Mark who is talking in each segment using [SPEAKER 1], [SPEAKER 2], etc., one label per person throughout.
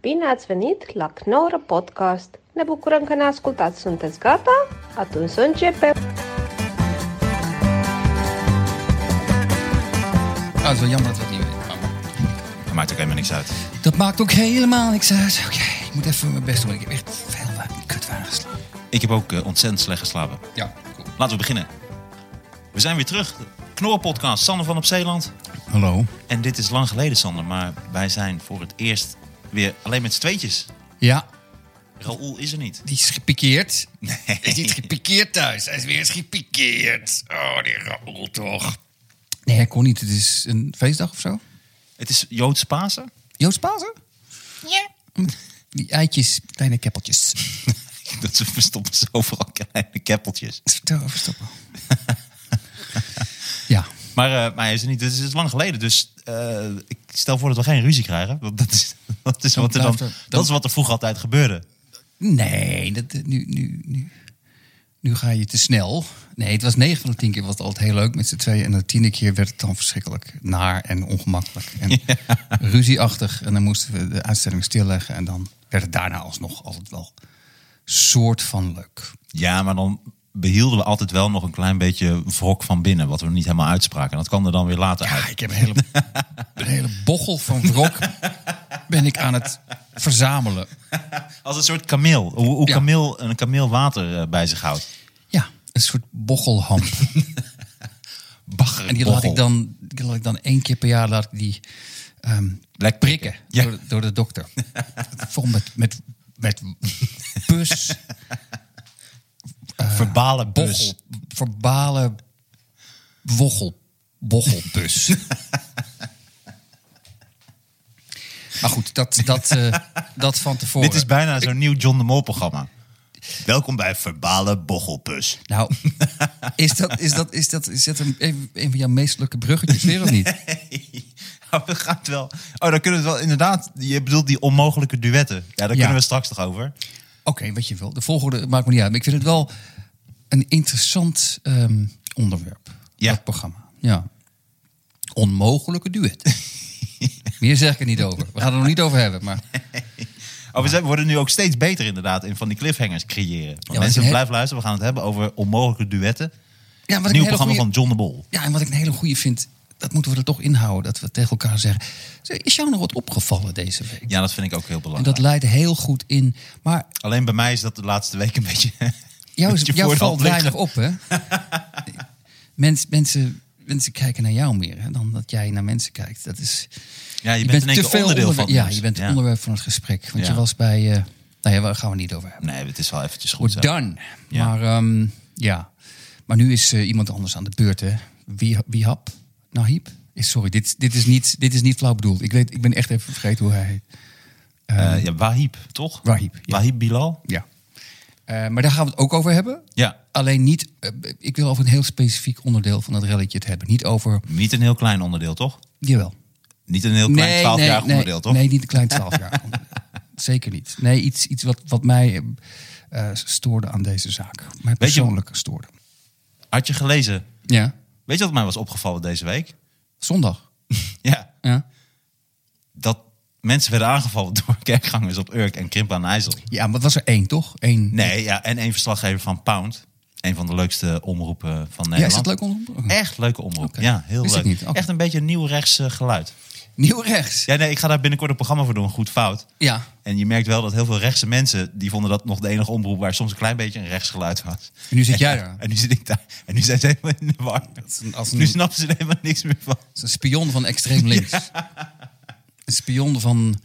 [SPEAKER 1] Bine ați venit la Knorr Podcast! Ne bucurăm că ne ascultați! Sunteți gata? Atunci să începem!
[SPEAKER 2] Also Ah, jammer dat we het niet weten. Maar
[SPEAKER 3] Dat maakt ook helemaal niks uit.
[SPEAKER 2] Dat maakt ook helemaal niks uit. Oké, ik moet even mijn best doen. want Ik heb echt veel wa- kut waar geslapen.
[SPEAKER 3] Ik heb ook eh, ontzettend slecht geslapen.
[SPEAKER 2] Ja, cool.
[SPEAKER 3] Laten we beginnen. We zijn weer terug. Knorrelpodcast, Sander van op Zeeland.
[SPEAKER 4] Hallo.
[SPEAKER 3] En dit is lang geleden, Sander, maar wij zijn voor het eerst weer alleen met z'n tweetjes.
[SPEAKER 4] Ja,
[SPEAKER 3] Raoul is er niet.
[SPEAKER 2] Die is gepikeerd. Nee. Is niet gepikeerd thuis. Hij is weer eens gepikeerd. Oh, die Raoul toch. Nee, hij kon niet. Het is een feestdag of zo.
[SPEAKER 3] Het is Joods Pasen.
[SPEAKER 2] Joost Pazen? Ja. Die eitjes, kleine keppeltjes.
[SPEAKER 3] Dat ze verstoppen ze overal kleine keppeltjes.
[SPEAKER 2] Vertel over stoppen. ja.
[SPEAKER 3] Maar, eh, maar hij is er niet. Dus het is lang geleden. Dus eh, ik stel voor dat we geen ruzie krijgen. Want dat is, dat is,
[SPEAKER 2] Dan
[SPEAKER 3] wat, er dan,
[SPEAKER 2] blijft er- dan-
[SPEAKER 3] dat is wat er vroeger altijd gebeurde.
[SPEAKER 2] Nee, dat, dat- nu, nu, nu, nu ga je te snel. Nee, het was negen van de tien keer was het altijd heel leuk met z'n tweeën. En de tiende keer werd het dan verschrikkelijk naar en ongemakkelijk. En ruzieachtig. En dan moesten we de uitstelling stilleggen. En dan werd het daarna alsnog altijd wel soort van leuk.
[SPEAKER 3] Ja, maar dan behielden we altijd wel nog een klein beetje wrok van binnen, wat we niet helemaal uitspraken. En dat kwam er dan weer later
[SPEAKER 2] Ja,
[SPEAKER 3] uit.
[SPEAKER 2] ik heb een hele, een hele bochel van wrok ben ik aan het verzamelen.
[SPEAKER 3] Als een soort kameel. Hoe, hoe
[SPEAKER 2] Ja.
[SPEAKER 3] kameel, een kameel water eh, bij zich houdt.
[SPEAKER 2] Ja, een soort bochelhamp.
[SPEAKER 3] Bagger.
[SPEAKER 2] En die laat ik dan, die laat ik dan één keer per jaar laat ik die ehm,
[SPEAKER 3] Lek
[SPEAKER 2] prikken
[SPEAKER 3] Ja.
[SPEAKER 2] door, door de dokter. Vol met, met, met pus,
[SPEAKER 3] Eh, verbale
[SPEAKER 2] bochel,
[SPEAKER 3] bus.
[SPEAKER 2] verbale wochel, dus. bochelpus. maar goed, dat, dat, eh, dat van tevoren.
[SPEAKER 3] Dit is bijna zo'n nieuw John de Mol programma. Welkom bij Verbale Bochelpus.
[SPEAKER 2] Nou, is dat, is dat, is dat, is dat een, een van jouw meest leuke bruggetjes weer of niet?
[SPEAKER 3] We gaan het wel. Oh, dan kunnen we het wel inderdaad. Je bedoelt die onmogelijke duetten. Ja, daar kunnen we straks nog over.
[SPEAKER 2] Oké, wat je wil. De volgorde maakt me niet uit. Maar ik vind het wel een interessant ehm, onderwerp.
[SPEAKER 3] Ja.
[SPEAKER 2] Dat programma. Ja. Onmogelijke duet. Meer zeg ik er niet over. We gaan het er nog niet over hebben. Maar
[SPEAKER 3] Oh, we zijn- we worden nu ook steeds beter inderdaad in van die cliffhangers creëren. Want
[SPEAKER 2] maar het
[SPEAKER 3] mensen
[SPEAKER 2] is een
[SPEAKER 3] blijven luisteren. We gaan het hebben over onmogelijke duetten.
[SPEAKER 2] ja, wat ik
[SPEAKER 3] Nieuw
[SPEAKER 2] een hele
[SPEAKER 3] programma
[SPEAKER 2] goeie-
[SPEAKER 3] van John de Mol.
[SPEAKER 2] Ja, en wat ik een hele goede vind. Dat moeten we er toch inhouden. Dat we tegen elkaar zeggen. "Zeg, Is jou nog wat opgevallen deze week?
[SPEAKER 3] Ja, dat vind ik ook heel
[SPEAKER 2] En
[SPEAKER 3] belangrijk.
[SPEAKER 2] dat leidt heel goed in. Maar
[SPEAKER 3] Alleen bij mij is dat de laatste week een beetje.
[SPEAKER 2] Jou, is-
[SPEAKER 3] beetje
[SPEAKER 2] jou
[SPEAKER 3] voor de
[SPEAKER 2] valt
[SPEAKER 3] hand
[SPEAKER 2] weinig
[SPEAKER 3] liggen.
[SPEAKER 2] op, hè? Mens, mensen, mensen kijken naar jou meer hè, dan dat jij naar mensen kijkt. Dat is,
[SPEAKER 3] Ja, je bent in één keer onderdeel van het
[SPEAKER 2] Ja,
[SPEAKER 3] nieuws.
[SPEAKER 2] je bent
[SPEAKER 3] Ja.
[SPEAKER 2] onderwerp van het gesprek. Want
[SPEAKER 3] Ja.
[SPEAKER 2] je was bij... eh nou ja, daar gaan we niet over hebben.
[SPEAKER 3] Nee, het is wel eventjes goed.
[SPEAKER 2] We're
[SPEAKER 3] zo.
[SPEAKER 2] done.
[SPEAKER 3] Ja.
[SPEAKER 2] Maar, ehm, ja. maar nu is eh, iemand anders aan de beurt, hè? Wie, wie hap? Nou, hiep? Eh, Sorry, dit, dit, is niet, dit is niet flauw bedoeld. Ik, weet, ik ben echt even vergeten hoe hij heet.
[SPEAKER 3] Eh, ja, Wahib, toch?
[SPEAKER 2] Wahib, ja.
[SPEAKER 3] Wahib Bilal?
[SPEAKER 2] Ja. Eh, maar daar gaan we het ook over hebben.
[SPEAKER 3] Ja.
[SPEAKER 2] Alleen niet, eh, ik wil over een heel specifiek onderdeel van dat relletje het hebben. Niet over,
[SPEAKER 3] Niet een heel klein onderdeel, toch?
[SPEAKER 2] jawel.
[SPEAKER 3] Niet een heel klein 12
[SPEAKER 2] nee,
[SPEAKER 3] jaar
[SPEAKER 2] nee,
[SPEAKER 3] onderdeel, toch?
[SPEAKER 2] Nee, niet een klein 12 jaar onderdeel. Zeker niet. Nee, iets, iets wat, wat mij eh, eh, stoorde aan deze zaak. Mij
[SPEAKER 3] Weet je-
[SPEAKER 2] persoonlijk stoorde.
[SPEAKER 3] Had je gelezen?
[SPEAKER 2] Ja,
[SPEAKER 3] Weet je wat mij was opgevallen deze week?
[SPEAKER 2] zondag.
[SPEAKER 3] Ja,
[SPEAKER 2] Ja,
[SPEAKER 3] dat mensen werden aangevallen door kerkgangers op Urk en Krimp aan IJssel.
[SPEAKER 2] ja maar het was er één, toch? Eén.
[SPEAKER 3] Nee, ja, en één verslaggever van Pound. Een van de leukste omroepen van Nederland. Eh.
[SPEAKER 2] Ja, is dat leuk onderzoek?
[SPEAKER 3] Echt leuke omroep.
[SPEAKER 2] Oké.
[SPEAKER 3] Ja, heel
[SPEAKER 2] Wist ik
[SPEAKER 3] leuk.
[SPEAKER 2] niet. Oké.
[SPEAKER 3] Echt een beetje een nieuw rechts eh, geluid.
[SPEAKER 2] Nieuw rechts. Ja.
[SPEAKER 3] Ja, nee, ik ga daar binnenkort een programma voor doen, goed fout. En je merkt wel dat heel veel rechtse mensen... die vonden dat nog de enige omroep waar soms een klein beetje een rechtsgeluid was.
[SPEAKER 2] En nu zit jij daar. Hmm.
[SPEAKER 3] En nu zit ik daar. En nu zijn ze helemaal in de war.
[SPEAKER 2] een- als een-
[SPEAKER 3] Nu snappen ze er helemaal niks meer van.
[SPEAKER 2] Het is een spion van extreem links. Een spion van...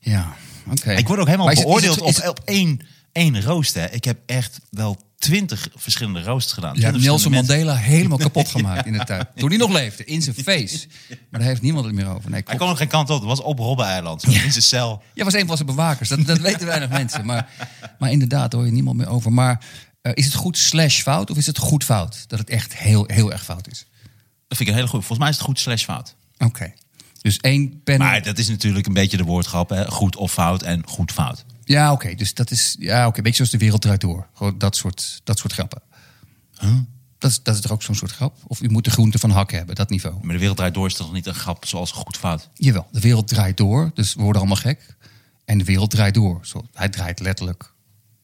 [SPEAKER 2] Ja, oké.
[SPEAKER 3] Ik word ook helemaal
[SPEAKER 2] Maar is het- is het-
[SPEAKER 3] beoordeeld
[SPEAKER 2] is het-
[SPEAKER 3] op, op één, één roost. Hè. Ik heb echt wel twintig verschillende roosts gedaan.
[SPEAKER 2] Je hebt
[SPEAKER 3] 20
[SPEAKER 2] Nelson
[SPEAKER 3] verschillende mensen.
[SPEAKER 2] Mandela helemaal kapot gemaakt in de tijd. Toen hij nog leefde, in zijn face. Maar daar heeft niemand het meer over. Nee,
[SPEAKER 3] Hij
[SPEAKER 2] klopt.
[SPEAKER 3] kon nog geen kant op. Dat was op Robben-eiland. zo, In zijn cel.
[SPEAKER 2] Jij was een van zijn bewakers, dat, dat weten weinig mensen. Maar, maar inderdaad, daar hoor je niemand meer over. Maar eh, is het goed slash fout of is het goed fout? Dat het echt heel, heel erg fout is.
[SPEAKER 3] Dat vind ik een hele goede. Volgens mij is het goed slash fout.
[SPEAKER 2] Oké. Dus één pen.
[SPEAKER 3] Maar dat is natuurlijk een beetje de woordgrap. Hè? Goed of fout en goed fout.
[SPEAKER 2] Ja, oké. dus dat is. Ja, oké. Beetje zoals de wereld eruit door. Gewoon dat soort, dat soort grappen. Dat, is- dat is toch ook zo'n soort grap? Of u moet de groente van hak hebben, dat niveau.
[SPEAKER 3] Maar de wereld draait door is toch nog niet een grap zoals goed fout.
[SPEAKER 2] Jawel, de wereld draait door, dus we worden allemaal gek. En de wereld draait door. Zo, hij draait letterlijk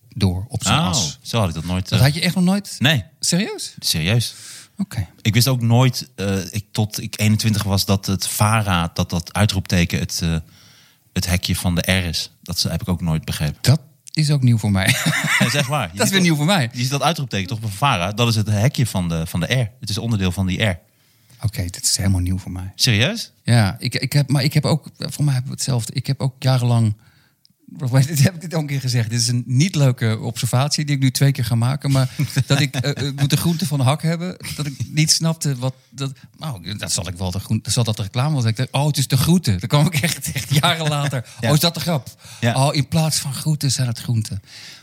[SPEAKER 2] door op zijn
[SPEAKER 3] Oh,
[SPEAKER 2] as.
[SPEAKER 3] zo had ik dat nooit. eh,
[SPEAKER 2] Dat had je echt nog nooit?
[SPEAKER 3] Nee,
[SPEAKER 2] Serieus?
[SPEAKER 3] serieus.
[SPEAKER 2] Oké.
[SPEAKER 3] Ik wist ook nooit, eh, ik, tot ik 21 was, dat het VARA, dat dat uitroepteken het, eh, het hekje van de R is. Dat ze- heb ik ook nooit begrepen.
[SPEAKER 2] Dat is ook nieuw voor mij.
[SPEAKER 3] Dat is echt waar.
[SPEAKER 2] dat
[SPEAKER 3] Je
[SPEAKER 2] is
[SPEAKER 3] ziet
[SPEAKER 2] weer nieuw voor mij.
[SPEAKER 3] Je ziet dat uitroepteken toch van VARA? Dat is het hekje van de, van de R. Het is onderdeel van die R.
[SPEAKER 2] Oké, dit is helemaal nieuw voor mij.
[SPEAKER 3] Serieus?
[SPEAKER 2] Ja, ik, ik heb, maar ik heb ook, voor mij hebben we hetzelfde. Ik heb ook jarenlang, dit heb ik dit ook een keer gezegd. Dit is een niet leuke observatie die ik nu twee keer ga maken. Maar dat ik eh, eh, moet de groente van de hak hebben. Dat ik niet snapte wat dat. Nou, dat zal ik wel de groente. Zal dat de reclame was? Ik dacht, oh, het is de groente. Dan kwam ik echt, echt jaren later.
[SPEAKER 3] Ja.
[SPEAKER 2] Oh, is dat de grap?
[SPEAKER 3] Ja.
[SPEAKER 2] Oh, in plaats van groenten zijn het groenten.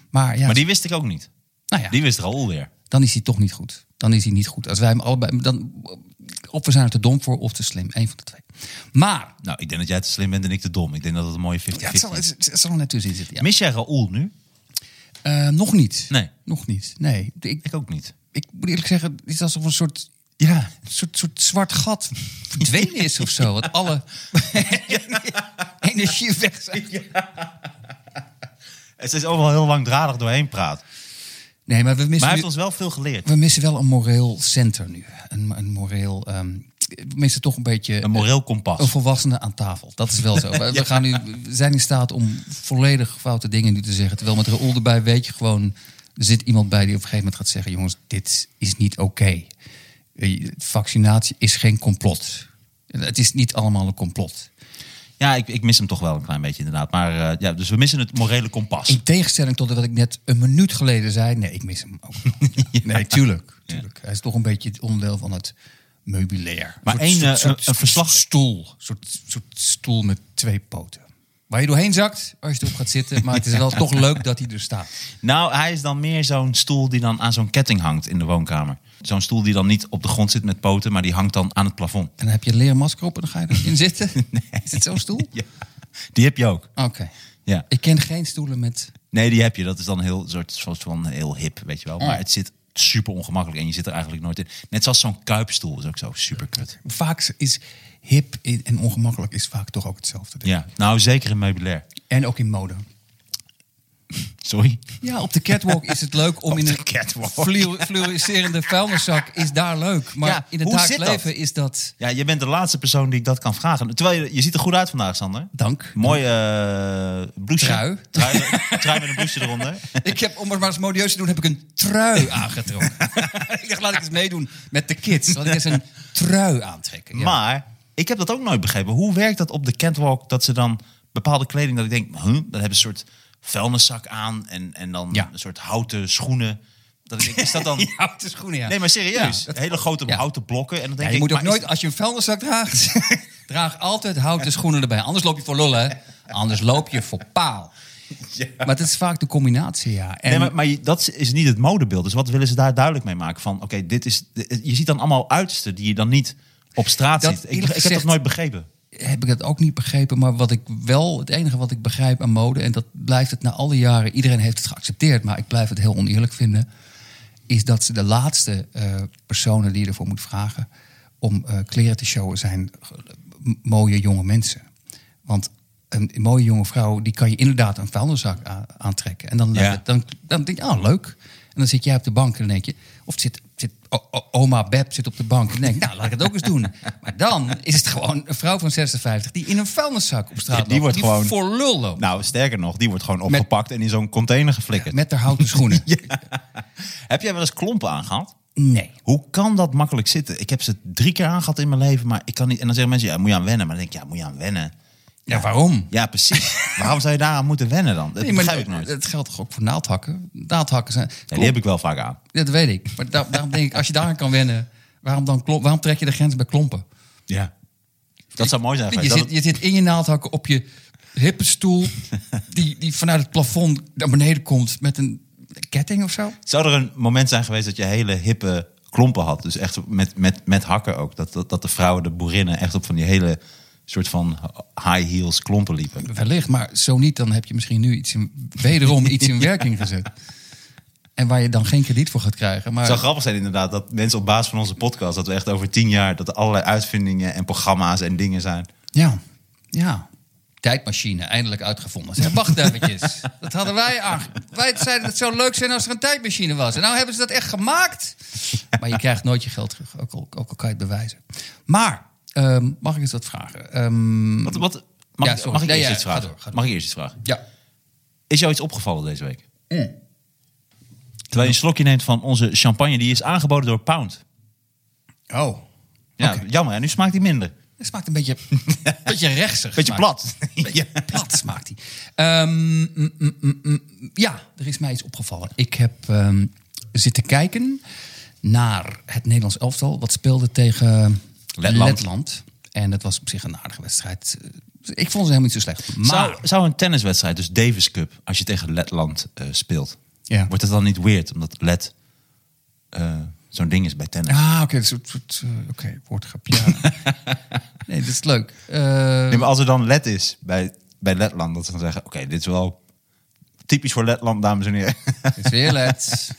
[SPEAKER 2] Maar ja,
[SPEAKER 3] Maar die wist ik ook niet.
[SPEAKER 2] nou ja
[SPEAKER 3] Die wist Raoul weer.
[SPEAKER 2] dan is hij toch niet goed. Dan is hij niet goed. Als wij hem allebei. Dan, of we zijn er te dom voor of te slim. Eén van de twee. Maar.
[SPEAKER 3] Nou, ik denk dat jij te slim bent en ik te dom. Ik denk dat het een mooie 50-50
[SPEAKER 2] Ja, het, zal,
[SPEAKER 3] is.
[SPEAKER 2] het, het zal er net tussen zitten. Ja.
[SPEAKER 3] Mis jij Raoul nu?
[SPEAKER 2] Eh, nog niet.
[SPEAKER 3] Nee.
[SPEAKER 2] Nog niet. Nee. Ik,
[SPEAKER 3] Ik ook niet.
[SPEAKER 2] ik moet eerlijk zeggen, het is alsof een soort.
[SPEAKER 3] Ja.
[SPEAKER 2] soort, soort zwart gat verdwenen is of zo. Wat alle energie weg zijn.
[SPEAKER 3] Het is overal heel langdradig doorheen praat. Maar
[SPEAKER 2] Nee, maar we missen.
[SPEAKER 3] hij
[SPEAKER 2] nu-
[SPEAKER 3] heeft ons wel veel geleerd.
[SPEAKER 2] We missen wel een moreel center nu. Een, een moreel. ehm, we missen toch een beetje.
[SPEAKER 3] Een moreel
[SPEAKER 2] Een
[SPEAKER 3] kompas.
[SPEAKER 2] volwassene aan tafel. Dat is wel zo. We- We, gaan nu, we zijn in staat om volledig foute dingen nu te zeggen. Terwijl met Raoul erbij weet je gewoon... Er zit iemand bij die op een gegeven moment gaat zeggen... jongens, dit is niet oké. Eh, Vaccinatie is geen complot. Het is niet allemaal een complot.
[SPEAKER 3] Ja, ik, ik mis hem toch wel een klein beetje inderdaad. Maar eh, ja, dus we missen het morele kompas.
[SPEAKER 2] In tegenstelling tot wat ik net een minuut geleden zei... nee, ik mis hem ook nog. Nee, tuurlijk. tuurlijk. Hij is toch een beetje het onderdeel van het meubilair.
[SPEAKER 3] Maar
[SPEAKER 2] Een soort- soort-
[SPEAKER 3] één, eh,
[SPEAKER 2] soort-
[SPEAKER 3] een- een verslag-
[SPEAKER 2] stoel. Een soort, soort stoel met twee poten. Waar je doorheen zakt als je erop gaat zitten. Maar het is wel toch leuk dat hij er staat.
[SPEAKER 3] Nou, hij is dan meer zo'n stoel die dan aan zo'n ketting hangt in de woonkamer. Zo'n stoel die dan niet op de grond zit met poten, maar die hangt dan aan het plafond.
[SPEAKER 2] En dan heb je een leermasker op en dan ga je erin zitten. Is het zo'n stoel?
[SPEAKER 3] Ja. Die heb je ook.
[SPEAKER 2] Oké.
[SPEAKER 3] Ja.
[SPEAKER 2] Ik ken geen stoelen met...
[SPEAKER 3] Nee, die heb je. Dat is dan heel soort, soort van heel hip, weet je wel. Maar
[SPEAKER 2] Ja.
[SPEAKER 3] het zit super ongemakkelijk en je zit er eigenlijk nooit in. Net zoals zo'n kuipstoel is ook zo super kut.
[SPEAKER 2] Vaak is hip en ongemakkelijk is vaak toch ook hetzelfde. denk ik.
[SPEAKER 3] Ja, nou zeker in meubilair.
[SPEAKER 2] En ook in mode.
[SPEAKER 3] Sorry.
[SPEAKER 2] Ja, op de catwalk is het leuk om in
[SPEAKER 3] de
[SPEAKER 2] een
[SPEAKER 3] catwalk.
[SPEAKER 2] fluo- fluoriserende vuilniszak is daar leuk. Maar
[SPEAKER 3] Ja,
[SPEAKER 2] in het
[SPEAKER 3] hoe
[SPEAKER 2] dagelijks
[SPEAKER 3] zit dat?
[SPEAKER 2] leven is dat...
[SPEAKER 3] Ja, je bent de laatste persoon die ik dat kan vragen. Terwijl je, je ziet er goed uit vandaag, Sander.
[SPEAKER 2] Dank.
[SPEAKER 3] Mooi eh bloesje.
[SPEAKER 2] Trui.
[SPEAKER 3] Trui, trui met een bloesje eronder.
[SPEAKER 2] Ik heb, om het maar eens modieus te doen, heb ik een trui aangetrokken. ik dacht, laat ik eens meedoen met de kids. Laat ik eens een trui aantrekken. Ja.
[SPEAKER 3] Maar ik heb dat ook nooit begrepen. Hoe werkt dat op de catwalk dat ze dan bepaalde kleding dat ik denk, huh, dat hebben een soort vuilniszak aan en, en dan
[SPEAKER 2] Ja.
[SPEAKER 3] een soort houten schoenen. Dat ik denk, is dat dan?
[SPEAKER 2] Die houten schoenen, ja.
[SPEAKER 3] Nee, maar serieus.
[SPEAKER 2] Ja, dat-
[SPEAKER 3] Hele grote
[SPEAKER 2] Ja.
[SPEAKER 3] houten blokken en dan
[SPEAKER 2] Ja,
[SPEAKER 3] denk
[SPEAKER 2] je
[SPEAKER 3] ik,
[SPEAKER 2] moet ook
[SPEAKER 3] maar is
[SPEAKER 2] nooit, als je een vuilniszak draagt, draag altijd houten schoenen erbij. Anders loop je voor lullen, hè. Anders loop je voor paal. Maar het is vaak de combinatie, ja. En,
[SPEAKER 3] Nee, maar, maar je- dat is niet het modebeeld. Dus wat willen ze daar duidelijk mee maken? Van, oké, dit is. dit- Je ziet dan allemaal uitersten die je dan niet op straat
[SPEAKER 2] Dat
[SPEAKER 3] ziet. Ik,
[SPEAKER 2] eerlijk
[SPEAKER 3] ik heb
[SPEAKER 2] gezegd-
[SPEAKER 3] dat nooit begrepen.
[SPEAKER 2] heb ik dat ook niet begrepen. Maar wat ik wel, het enige wat ik begrijp aan mode, en dat blijft het na al die jaren, iedereen heeft het geaccepteerd, maar ik blijf het heel oneerlijk vinden, is dat ze de laatste eh, personen die je ervoor moet vragen om eh, kleren te showen zijn ge- m- mooie jonge mensen. Want een mooie jonge vrouw, die kan je inderdaad een vuilniszak a- aantrekken. En dan,
[SPEAKER 3] Ja.
[SPEAKER 2] dan, dan denk je, ah, leuk. En dan zit jij op de bank en dan denk je... of zit, zit o- o- oma Beb zit op de bank en dan denk je, nou, laat ik het ook eens doen. Maar dan is het gewoon een vrouw van 56 die in een vuilniszak op straat
[SPEAKER 3] Die wordt gewoon-
[SPEAKER 2] voor lul loopt.
[SPEAKER 3] Nou, sterker nog, die wordt gewoon
[SPEAKER 2] Met-
[SPEAKER 3] opgepakt en in zo'n container geflikkerd.
[SPEAKER 2] Met haar houten schoenen.
[SPEAKER 3] Heb jij wel eens klompen aangehad?
[SPEAKER 2] Nee.
[SPEAKER 3] Hoe kan dat makkelijk zitten? Ik heb ze drie keer aangehad in mijn leven, maar ik kan niet. En dan zeggen mensen, ja, moet je aan wennen. Maar dan denk ik, ja, moet je aan wennen.
[SPEAKER 2] Ja, waarom?
[SPEAKER 3] Ja, precies. Waarom zou je daaraan moeten wennen dan? Dat
[SPEAKER 2] Nee, maar
[SPEAKER 3] begrijp ik nooit.
[SPEAKER 2] Dat geldt toch ook voor naaldhakken? Naaldhakken zijn...
[SPEAKER 3] Ja, die heb ik wel vaak aan.
[SPEAKER 2] Dat weet ik. Maar daar- daarom denk ik, als je daaraan kan wennen... Waarom, dan klom- waarom trek je de grens bij klompen?
[SPEAKER 3] Ja. Dat zou mooi zijn.
[SPEAKER 2] Je,
[SPEAKER 3] dat
[SPEAKER 2] zit, je zit in je naaldhakken op je hippenstoel... die, die vanuit het plafond naar beneden komt met een ketting of zo.
[SPEAKER 3] Zou er een moment zijn geweest dat je hele hippe klompen had? Dus echt met, met, met hakken ook. Dat, dat, dat de vrouwen, de boerinnen, echt op van die hele soort van high heels klompen liepen.
[SPEAKER 2] Wellicht, maar zo niet, dan heb je misschien nu iets in, wederom iets in werking gezet. En waar je dan geen krediet voor gaat krijgen. Maar
[SPEAKER 3] Het zou grappig zijn inderdaad dat mensen op basis van onze podcast... dat we echt over tien jaar dat er allerlei uitvindingen en programma's en dingen zijn.
[SPEAKER 2] ja, ja. tijdmachine eindelijk uitgevonden. Zeg, wacht eventjes. Dat hadden wij aan. Wij zeiden dat het zou leuk zijn als er een tijdmachine was. En nou hebben ze dat echt gemaakt. Maar je krijgt nooit je geld terug, ook al, ook al kan je het bewijzen. Maar, ehm, mag ik eens wat vragen? Ehm,
[SPEAKER 3] Wat, wat, mag,
[SPEAKER 2] Ja,
[SPEAKER 3] ik-
[SPEAKER 2] sorry.
[SPEAKER 3] mag ik
[SPEAKER 2] Ja,
[SPEAKER 3] eerst
[SPEAKER 2] ja,
[SPEAKER 3] iets
[SPEAKER 2] ga
[SPEAKER 3] vragen?
[SPEAKER 2] door, ga door.
[SPEAKER 3] Mag ik eerst iets vragen?
[SPEAKER 2] ja.
[SPEAKER 3] Is jou iets opgevallen deze week? Terwijl je een slokje neemt van onze champagne, die is aangeboden door Pound.
[SPEAKER 2] Oh.
[SPEAKER 3] Ja,
[SPEAKER 2] Oké.
[SPEAKER 3] jammer. En nu smaakt die minder.
[SPEAKER 2] Het smaakt een beetje, beetje rechtsig.
[SPEAKER 3] Beetje
[SPEAKER 2] smaakt
[SPEAKER 3] plat.
[SPEAKER 2] het. Beetje plat smaakt hij. Ehm, mm, mm, mm, mm. ja, er is mij iets opgevallen. Ik heb ehm, zitten kijken naar het Nederlands elftal. Wat speelde tegen
[SPEAKER 3] Letland.
[SPEAKER 2] Letland. En dat was op zich een aardige wedstrijd. Eh, Ik vond ze helemaal niet zo slecht. Maar
[SPEAKER 3] Zou, zou een tenniswedstrijd, dus Davis Cup, als je tegen Letland eh, speelt,
[SPEAKER 2] Ja.
[SPEAKER 3] wordt het dan niet weird? Omdat Let eh, zo'n ding is bij tennis.
[SPEAKER 2] Ah, oké, dat is een soort- eh, oké, woordgrapje. Ja. nee, dat is leuk. Eh,
[SPEAKER 3] Nee, maar als er dan Let is bij, bij Letland, dat ze dan zeggen: Oké, dit is wel typisch voor Letland, dames en heren.
[SPEAKER 2] Het is weer Let's.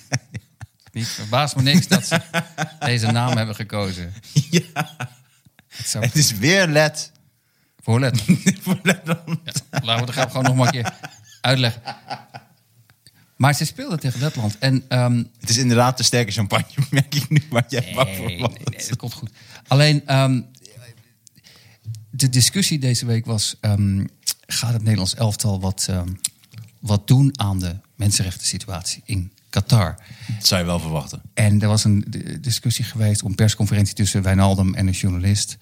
[SPEAKER 2] Niet verbaast me niks dat ze deze naam hebben gekozen. Ja. Het zou
[SPEAKER 3] het is weer Let
[SPEAKER 2] voor Let.
[SPEAKER 3] voor Letland.
[SPEAKER 2] Laten we de grap gewoon nog maar een keer uitleggen. Maar ze speelden tegen Letland. En ehm,
[SPEAKER 3] Het is inderdaad te sterke champagne, merk ik nu, waar jij bang
[SPEAKER 2] Nee,
[SPEAKER 3] voor
[SPEAKER 2] nee,
[SPEAKER 3] was.
[SPEAKER 2] nee, dat komt goed. Alleen, ehm, de discussie deze week was... ehm, gaat het Nederlands elftal wat, ehm, wat doen aan de mensenrechten situatie in Qatar?
[SPEAKER 3] Dat zou je wel verwachten.
[SPEAKER 2] En er was een eh, discussie geweest om persconferentie tussen Wijnaldum en een journalist.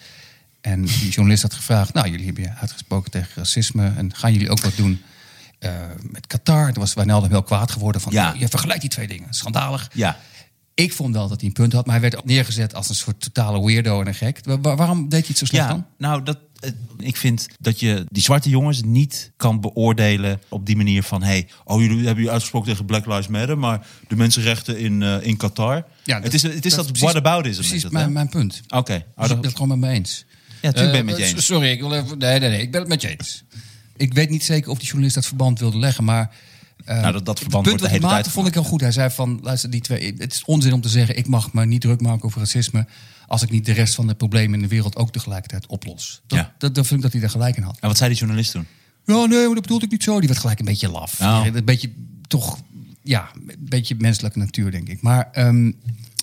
[SPEAKER 2] En die journalist had gevraagd: Nou, jullie hebben je uitgesproken tegen racisme. En gaan jullie ook wat doen eh, met Qatar? Toen was Wijnaldum heel kwaad geworden van:
[SPEAKER 3] Ja.
[SPEAKER 2] Je vergelijkt die twee dingen. Schandalig.
[SPEAKER 3] Ja.
[SPEAKER 2] Ik vond wel dat hij een punt had, maar hij werd ook neergezet als een soort totale weirdo en een gek. Wa- wa- waarom deed hij het zo slecht dan?
[SPEAKER 3] nou, dat, eh, ik vind dat je die zwarte jongens niet kan beoordelen op die manier van... hey, oh, jullie hebben je uitgesproken tegen Black Lives Matter... maar de mensenrechten in, eh, in Qatar... het is, het is dat,
[SPEAKER 2] precies-
[SPEAKER 3] whataboutism. is
[SPEAKER 2] Precies
[SPEAKER 3] het, hè?
[SPEAKER 2] mijn, mijn punt.
[SPEAKER 3] Oké, oh,
[SPEAKER 2] Dus ik
[SPEAKER 3] dat-
[SPEAKER 2] ben het gewoon met me eens.
[SPEAKER 3] Ja, tuurlijk ben ik met je
[SPEAKER 2] Eh,
[SPEAKER 3] eens.
[SPEAKER 2] Sorry, ik wil even... Nee, nee, nee, ik ben het met je eens. Ik weet niet zeker of die journalist dat verband wilde leggen, maar... eh,
[SPEAKER 3] Nou, dat- dat verband
[SPEAKER 2] het
[SPEAKER 3] wordt de
[SPEAKER 2] punt
[SPEAKER 3] hele
[SPEAKER 2] wat hij
[SPEAKER 3] tijd
[SPEAKER 2] maakte vond ik heel goed. Hij zei van, luister, die twee, het is onzin om te zeggen... ik mag me niet druk maken over racisme... als ik niet de rest van de problemen in de wereld ook tegelijkertijd oplos. Dat,
[SPEAKER 3] Ja.
[SPEAKER 2] dat, dat vind ik dat hij daar gelijk in had.
[SPEAKER 3] en wat zei die journalist toen?
[SPEAKER 2] Ja, nee, maar dat bedoelde ik niet zo. Die werd gelijk een beetje laf.
[SPEAKER 3] Oh.
[SPEAKER 2] Een beetje toch, ja, een beetje menselijke natuur, denk ik. Maar ehm,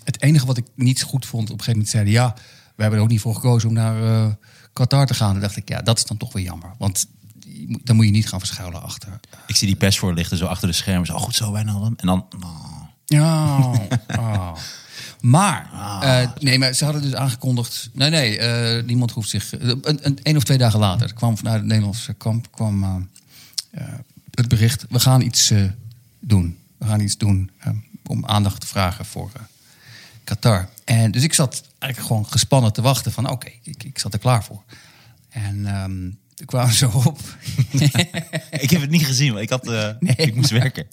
[SPEAKER 2] het enige wat ik niet goed vond, op een gegeven moment zeiden... ja, we hebben er ook niet voor gekozen om naar eh, Qatar te gaan. Dan dacht ik, ja, dat is dan toch weer jammer. Want je moet- dan moet je niet gaan verschuilen achter.
[SPEAKER 3] Ik zie die pers voor lichten, zo achter de schermen. Zo, oh, goed zo, Wijnaldum. En dan... oh.
[SPEAKER 2] Ja, ah. Maar, eh, nee, maar ze hadden dus aangekondigd... Nee, nee, eh, niemand hoeft zich... eh, Een, een, een of twee dagen later kwam vanuit het Nederlandse kamp kwam, eh, eh, het bericht... we gaan iets eh, doen. We gaan iets doen eh, om aandacht te vragen voor eh, Qatar. En, dus ik zat eigenlijk gewoon gespannen te wachten van... oké, ik, ik zat er klaar voor. En ehm toen kwamen ze op...
[SPEAKER 3] ik heb het niet gezien, want ik, had, eh, ik moest
[SPEAKER 2] maar-
[SPEAKER 3] werken.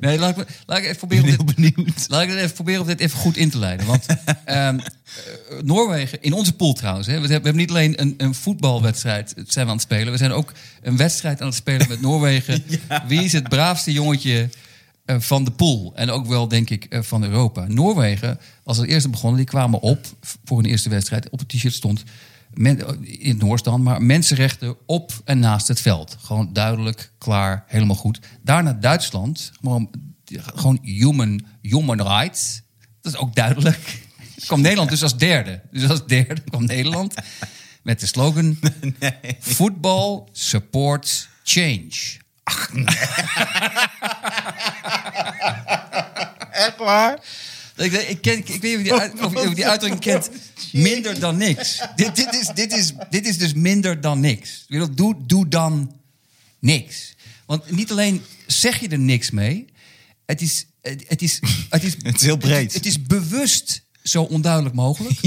[SPEAKER 2] Nee, laat ik, me- laat ik even
[SPEAKER 3] Ik
[SPEAKER 2] proberen...
[SPEAKER 3] ben
[SPEAKER 2] om
[SPEAKER 3] heel
[SPEAKER 2] dit-
[SPEAKER 3] benieuwd.
[SPEAKER 2] Laat ik het even proberen om dit even goed in te leiden. Want ehm, eh, Noorwegen, in onze pool trouwens. Hè, we, hebben, we hebben niet alleen een, een voetbalwedstrijd eh, zijn we aan het spelen. We zijn ook een wedstrijd aan het spelen met Noorwegen. Wie is het braafste jongetje eh, van de pool? En ook wel, denk ik, eh, van Europa. Noorwegen was als eerste begonnen. Die kwamen op voor hun eerste wedstrijd. Op het t-shirt stond, men- eh, in het Noors dan, maar mensenrechten op en naast het veld. Gewoon duidelijk, klaar, helemaal goed. Daarna Duitsland. Gewoon gewoon human, human rights. Dat is ook duidelijk. Kwam Nederland dus als derde. Dus als derde kwam Nederland met de slogan... Voetbal supports change.
[SPEAKER 3] Echt waar?
[SPEAKER 2] Ik, ik, ken, ik weet niet of je die, uit- of je die uitdrukking kent. Minder dan niks. Dit, dit, is, dit, is, dit is dus minder dan niks. Ik bedoel, Doe, doe dan niks. Want niet alleen zeg je er niks mee. Het is, het, het is, het is,
[SPEAKER 3] Het is heel breed.
[SPEAKER 2] Het, is bewust zo onduidelijk mogelijk.